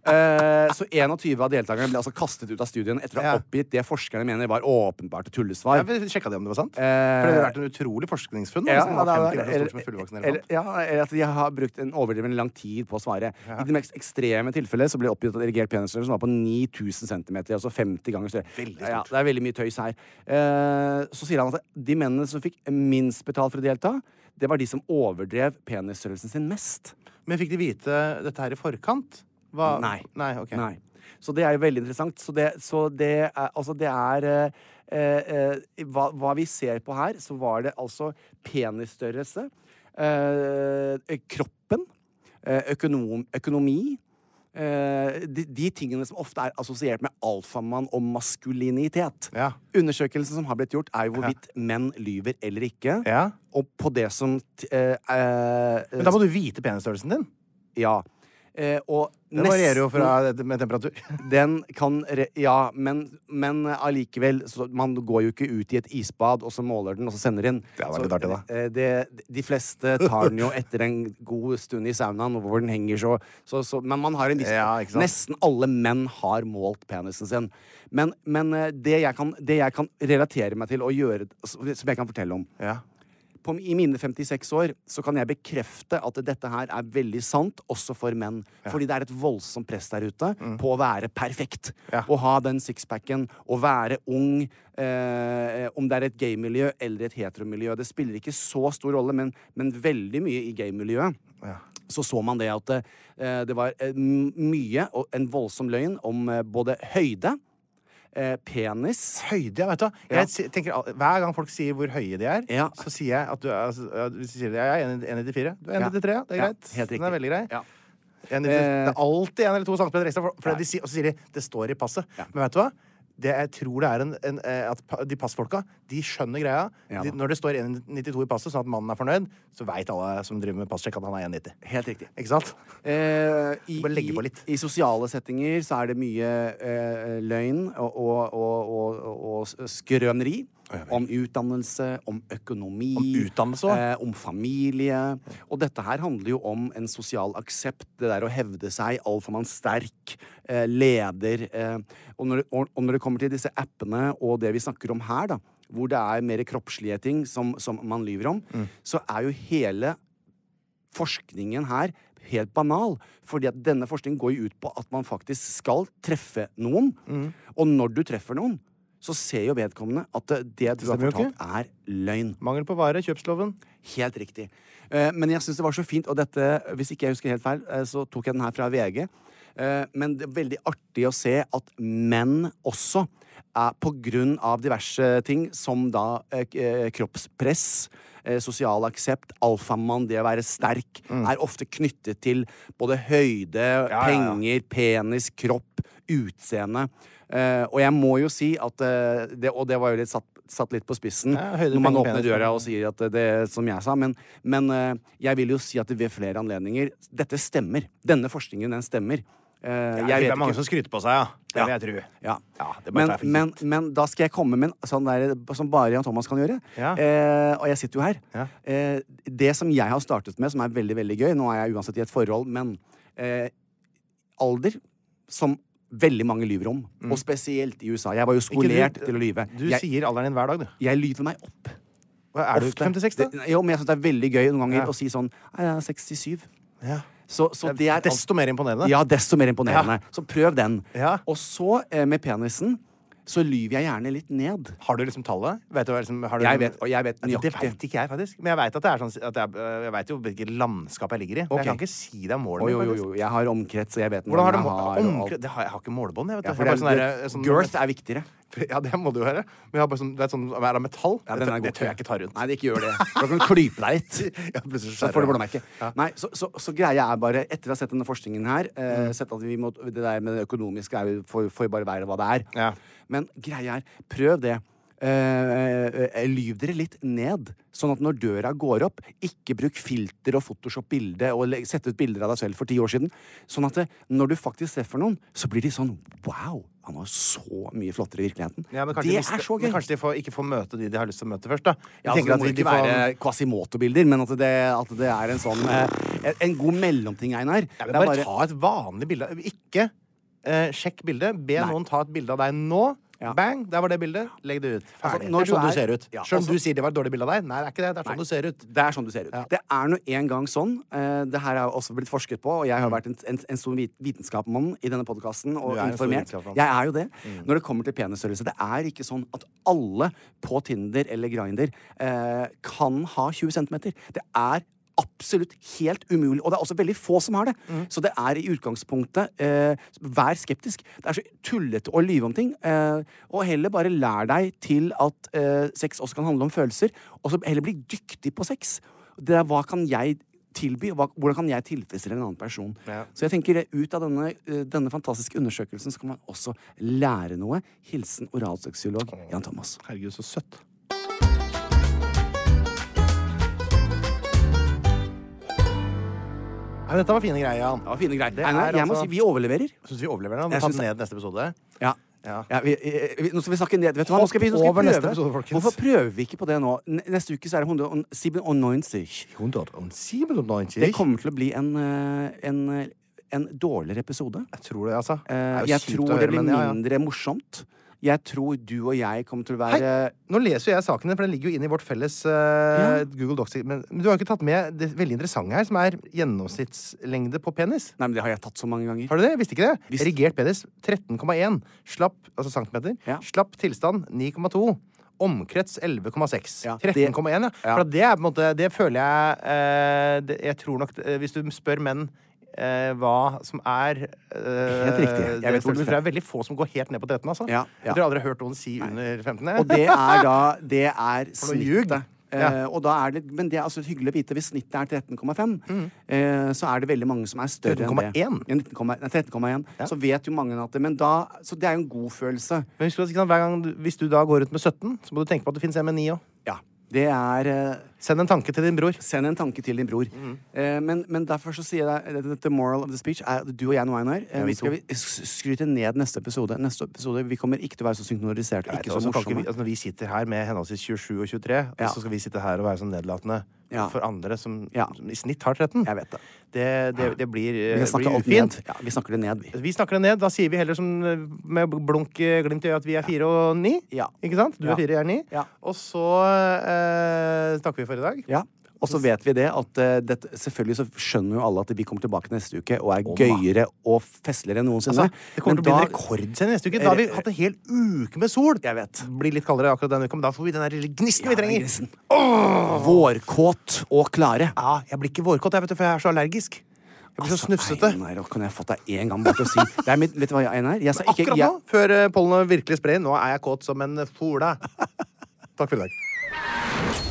S3: Eh, så 21 av deltakerne ble altså kastet ut av studien etter å ha
S4: Ja.
S3: oppgitt det forskerne mener var åpenbart tullesvar.
S4: Sjekka de om det var sant? For det ville vært en utrolig forskningsfunn. da,
S3: Eh, Ja,
S4: hvis den var
S3: ja,
S4: 50
S3: det er-
S4: ganger så stor som en fullvoksen
S3: eller-
S4: elefant.
S3: ja, eller at de har brukt en overdrivende lang tid på å svare. I det mest ekstreme tilfellet så ble det oppgitt at erigert penisstørrelse var på 9000 cm. Altså 50 ganger større. Ja, det er veldig mye tøys her. Eh, så sier han at de mennene som fikk minst betalt for å delta, det var de som overdrev penisstørrelsen sin mest.
S4: Men fikk de vite dette her i forkant? Hva-
S3: Nei.
S4: Nei, ok.
S3: Nei. Så det er jo veldig interessant. Så det, så det er Altså, det er eh, eh, eh, hva, hva vi ser på her, så var det altså penisstørrelse, eh, kroppen, eh, økonom, økonomi eh, de, de tingene som ofte er assosiert med alfamann og maskulinitet.
S4: Ja.
S3: Undersøkelsen som har blitt gjort, er jo hvorvidt menn lyver eller ikke.
S4: Ja.
S3: Og på det som t- eh, eh,
S4: Men da må du vite penisstørrelsen din.
S3: Ja. Eh, og
S4: Det varierer jo
S3: nesten-
S4: fra med temperatur. *laughs*
S3: den kan re Ja, men, men allikevel så Man går jo ikke ut i et isbad, og så måler den, og så sender den.
S4: Det hadde vært
S3: så,
S4: litt artig, da.
S3: eh, Det, de fleste tar den jo etter en god stund i saunaen, hvor den henger så, så, så Men man har en viss
S4: Ja, ikke sant?
S3: Nesten alle menn har målt penisen sin. Men, men eh, det, jeg kan, det jeg kan relatere meg til og gjøre Som jeg kan fortelle om
S4: Ja.
S3: på, I mine 56 år så kan jeg bekrefte at dette her er veldig sant, også for menn. Fordi det er et voldsomt press der ute på å være perfekt.
S4: Mm. Ja.
S3: Å ha den sixpacken, å være ung. Eh, om det er et gaymiljø eller et heteromiljø. Det spiller ikke så stor rolle, men, men veldig mye i gaymiljøet. Så så man det at eh, det var eh, m- mye og en voldsom løgn om eh, både høyde, eh, penis
S4: Høyde, ja, vet du. hva. Jeg si- tenker, al- hver gang folk sier hvor høye de er,
S3: Ja.
S4: så sier jeg at du er altså, ja, Hvis de sier det, jeg er 1,94. Du er
S3: Ja.
S4: 1,93, ja. Det er
S3: Ja,
S4: greit.
S3: helt
S4: Den er
S3: riktig.
S4: veldig grei.
S3: Ja.
S4: 1,93.
S3: Eh.
S4: Det er alltid en eller to centimeter ekstra, for, for de sier, og så sier de det står i passet. Men vet du hva? Det, jeg tror det er en, en, eh, at pa- de passfolka de skjønner greia.
S3: Ja
S4: de,
S3: da.
S4: når det står 1,92 i passet, sånn at mannen er fornøyd, så veit alle som driver med passsjekk, at han er 1,90.
S3: Helt riktig.
S4: Ikke sant?
S3: Eh, i,
S4: Bare legge på
S3: i,
S4: litt.
S3: I sosiale settinger så er det mye eh, løgn og, og, og, og, og s- skrøneri. Om utdannelse, om økonomi.
S4: Om utdannelse også?
S3: eh, om familie. Og dette her handler jo om en sosial aksept. Det der å hevde seg. Altfor man sterk. Eh, leder. Eh, og, når, det- og, og når det kommer til disse appene og det vi snakker om her, da, hvor det er mer kroppslige ting som, som man lyver om,
S4: Mm.
S3: så er jo hele forskningen her helt banal. Fordi at denne forskningen går jo ut på at man faktisk skal treffe noen.
S4: Mm.
S3: Og når du treffer noen, så ser jo vedkommende at det du har
S4: stemmer jo
S3: fortalt, er løgn.
S4: Mangel på vare, kjøpsloven.
S3: Helt riktig. Eh, Men jeg syns det var så fint, og dette, hvis ikke jeg husker helt feil, eh, så tok jeg den her fra VG. Eh, Men det er veldig artig å se at menn også er på grunn av diverse ting, som da eh, k- eh, kroppspress, eh, sosial aksept, alfamann, det å være sterk, er ofte knyttet til både høyde,
S4: Mm. ja.
S3: penger, penis, kropp, utseende. Eh, og jeg må jo si at eh, det, Og det var jo litt satt, satt litt på spissen
S4: Ja, høyde,
S3: når man
S4: penger,
S3: åpner
S4: penis.
S3: døra og sier at det som jeg sa, men, men eh, jeg vil jo si at ved flere anledninger Dette stemmer. Denne forskningen, den stemmer. Eh, jeg vet ikke.
S4: skryter på seg, ja.
S3: Ja.
S4: tro.
S3: Ja.
S4: Ja, det er bare
S3: men,
S4: tar jeg for
S3: men,
S4: gitt.
S3: men da skal jeg komme med en sånn der, som bare Jan Thomas kan gjøre.
S4: Ja.
S3: Eh, og jeg sitter jo her.
S4: Ja.
S3: Eh, det som jeg har startet med, som er veldig veldig gøy Nå er jeg uansett i et forhold, men eh, alder som veldig mange lyver om. Og spesielt i USA. Jeg var jo skolert til å lyve.
S4: Mm. Du
S3: jeg,
S4: sier alderen din hver dag, du.
S3: jeg lyver meg opp.
S4: Hva er du
S3: Ofte.
S4: 56, da?
S3: Det, jo, men jeg syns det er veldig gøy noen ganger
S4: Ja.
S3: å si sånn Nei, jeg er 67.
S4: Ja.
S3: Så, så det er
S4: Desto mer imponerende.
S3: Ja, desto mer imponerende. Så prøv den.
S4: Ja.
S3: Og så, eh, med penisen, så lyver jeg gjerne litt ned.
S4: Har du liksom tallet? Vet du, hva liksom, har du,
S3: Jeg vet, og jeg vet
S4: Ja, Det
S3: nøyaktig.
S4: veit ikke jeg, faktisk. Men jeg vet at det er sånn at jeg, øh, jeg vet jo hvilket landskap jeg ligger i. Men
S3: Ok.
S4: jeg kan ikke si deg målet.
S3: Å, jo,
S4: mitt,
S3: jo,
S4: faktisk.
S3: jo. Jeg har omkrets, og jeg vet
S4: Hvordan har du
S3: jeg
S4: må-
S3: og
S4: omkring-
S3: alt.
S4: det har, jeg har ikke målebånd, jeg, vet du.
S3: Ja,
S4: Jeg
S3: for
S4: bare
S3: det,
S4: sånn
S3: det,
S4: der, sånn-
S3: girth er viktigere.
S4: *laughs* Ja, det må du jo høre. Men jeg har bare sånn, det er sånn er av metall.
S3: Ja,
S4: det,
S3: den er
S4: tør- det
S3: god.
S4: tør jeg ikke ta rundt.
S3: Nei, det ikke gjør det. For da kan du klype deg litt.
S4: *laughs*
S3: *laughs*
S4: Ja, plutselig
S3: så
S4: skjærer
S3: får du
S4: jeg.
S3: blåmerke. Nei, så, så, så greia er bare, etter å ha sett denne forskningen her eh,
S4: Mm.
S3: Sett at vi må, Det der med det økonomiske er jo- får får jo bare være hva det er.
S4: Ja.
S3: Men greia er, prøv det. Eh, eh, lyv dere litt ned, sånn at når døra går opp, ikke bruk filter og Photoshop-bilde og le- sette ut bilder av deg selv for ti år siden. Sånn at det, når du faktisk treffer noen, så blir de sånn Wow! Han var så mye flottere i virkeligheten.
S4: Ja, men kanskje
S3: det
S4: de mister-
S3: er så gøy!
S4: Men kanskje de får, ikke får møte de de har lyst til å møte først, da. Jeg
S3: Ja, altså,
S4: tenker
S3: det
S4: at
S3: må
S4: de- de
S3: ikke
S4: får-
S3: være Quasimoto-bilder, men at det, at det er en sånn eh, en- En god mellomting, Einar.
S4: Ja,
S3: Det
S4: men
S3: er
S4: bare, ta et vanlig bilde. Ikke eh, sjekk bildet. Be noen ta et bilde av deg nå.
S3: Ja.
S4: Bang! Der var det bildet. Legg det ut. Ferdig. det er
S3: når
S4: sånn
S3: du
S4: du,
S3: er-
S4: ser ut.
S3: Ja,
S4: Selv om
S3: altså-
S4: du sier det var et dårlig bilde av deg. Nei, det er ikke det. Det er sånn
S3: Nei.
S4: du ser ut.
S3: Det er sånn du ser ut.
S4: Ja.
S3: Det er nå en gang sånn. Eh, det her er også blitt forsket på, og jeg har vært en, en, en stor vit- vitenskapsmann i denne podkasten og
S4: Du er en stor
S3: informert.
S4: vitenskapsmann.
S3: Jeg er jo det. Når det kommer til penisstørrelse, det er ikke sånn at alle på Tinder eller Grinder eh, kan ha 20 cm. Det er absolutt helt umulig, og det er også veldig få som har det. Så det er i utgangspunktet eh, Vær skeptisk. Det er så tullete å lyve om ting. Eh, og heller bare lær deg til at eh, sex også kan handle om følelser, og så heller bli dyktig på sex. Det er, hva kan jeg tilby? Hva, hvordan kan jeg tilfredsstille en annen person?
S4: Ja.
S3: Så jeg tenker eh, ut av denne, eh, denne fantastiske undersøkelsen så kan man også lære noe. Hilsen oralseksuolog Jan Thomas.
S4: Herregud, så søtt. Nei, men dette var fine greier, Jan.
S3: Ja, fine greier.
S4: Det
S3: Einar,
S4: er
S3: jeg må
S4: altså-
S3: si vi overleverer.
S4: Jeg syns vi overlever den.
S3: Jeg
S4: Vi tar
S3: synes
S4: den ned i neste episode.
S3: Ja.
S4: Ja.
S3: Ja, vi, eh, vi, nå skal vi snakke ned. Vet du hva? Nå skal vi, nå skal vi
S4: Hopp over
S3: prøve.
S4: neste episode, folkens.
S3: Hvorfor prøver vi ikke på det nå? N- Neste uke så er det 197.
S4: 197.
S3: Det kommer til å bli en, eh, en, eh, en dårligere episode.
S4: Jeg tror det, altså. Det
S3: Eh,
S4: er jo
S3: Jeg
S4: kjipt å
S3: tror
S4: høre,
S3: det blir
S4: men ja, ja.
S3: mindre morsomt. Jeg tror du og jeg kommer til å
S4: Hei,
S3: være
S4: nå leser jo jeg saken din, for den ligger jo inn i vårt felles eh, Google Docs. Men, men du har jo ikke tatt med det veldig interessante her, som er gjennomsnittslengde på penis.
S3: Nei, men det har jeg tatt så mange ganger.
S4: Har du det? Visste ikke det?
S3: Visst.
S4: Erigert penis 13,1. Slapp altså centimeter.
S3: Ja.
S4: Slapp tilstand 9,2. Omkrets 11,6.
S3: Ja, det-
S4: 13,1, ja. For at det er på en måte Det føler jeg eh, det, Jeg tror nok eh, Hvis du spør menn eh, hva som er eh,
S3: Helt riktig. Jeg
S4: det
S3: vet hvor
S4: største,
S3: du vil
S4: for det er veldig få som går helt ned på 13, altså.
S3: Ja, ja.
S4: Jeg tror jeg aldri har hørt noen si under 15.
S3: Og det er da Det er
S4: For noe ljug.
S3: snittet.
S4: Ja.
S3: Eh, og da er det, men det er altså hyggelig å vite hvis snittet er 13,5, eh, så er det veldig mange som er større enn det.
S4: 13,1?
S3: Ja, 19,1. Nei, 13,1. Så vet jo mange at det Men da Så det er jo en god følelse.
S4: Men husk at ikke sant, hver gang, du- hvis du da går rundt med 17, så må du tenke på at det fins en med 9 òg.
S3: Ja. Det er eh,
S4: Send en tanke til din bror.
S3: Send en tanke til din bror. Eh, men, men derfor så sier jeg deg The moral of the speech er at du og jeg nå, Einar, eh, vi skal vi s- skryte ned neste episode. Neste episode, Vi kommer ikke til å være så synkroniserte og ikke
S4: Og
S3: så
S4: så kan ikke vi,
S3: morsomme.
S4: altså når vi sitter her med henholdsvis 27 og 23,
S3: Ja.
S4: og så skal vi sitte her og være sånn nedlatende
S3: Ja.
S4: for andre som,
S3: Ja.
S4: som i snitt har 13.
S3: Jeg vet det.
S4: Det, det, det blir,
S3: Vi
S4: eh,
S3: kan snakke
S4: blir
S3: alt
S4: ufint.
S3: ned. Ja, vi snakker det ned, vi.
S4: Vi snakker det ned. Da sier vi heller som eh, med blunk eh, glimt i øyet at vi er fire og ni.
S3: Ja.
S4: Ikke sant? Du
S3: Ja.
S4: er fire, jeg er ni.
S3: Ja.
S4: Og så eh, snakker vi for i dag.
S3: Ja. Og så vet vi det at eh, dette- selvfølgelig så skjønner jo alle at vi kommer tilbake neste uke og er gøyere og festligere enn noensinne.
S4: Altså, det kommer til å
S3: Men
S4: bli en
S3: da-
S4: rekordsending neste uke. Da har vi hatt en hel uke med sol.
S3: Jeg vet.
S4: Blir litt kaldere akkurat denne uka, men da får vi den der lille gnisten vi
S3: Ja,
S4: trenger.
S3: Grisen. Vårkåt og klare. Altså,
S4: Ja, jeg blir ikke vårkåt, jeg, vet du, for jeg er så allergisk. Jeg blir så snufsete.
S3: Einar, og kunne jeg fått deg en gang bort og si det er mitt, Vet du hva, Einar? Jeg sa altså, ikke
S4: Akkurat nå,
S3: jeg,
S4: før eh, pollenet virkelig sprer inn. Nå er jeg kåt som en fola. *laughs* Takk for i dag.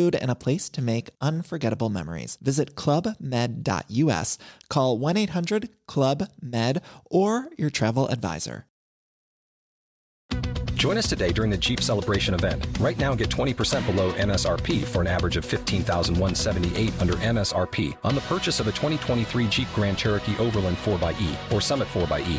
S6: and a place to make unforgettable memories. Visit clubmed.us, call 1 800 Club Med, or your travel advisor.
S7: Join us today during the Jeep Celebration event. Right now, get 20% below MSRP for an average of 15178 under MSRP on the purchase of a 2023 Jeep Grand Cherokee Overland 4xE or Summit 4xE.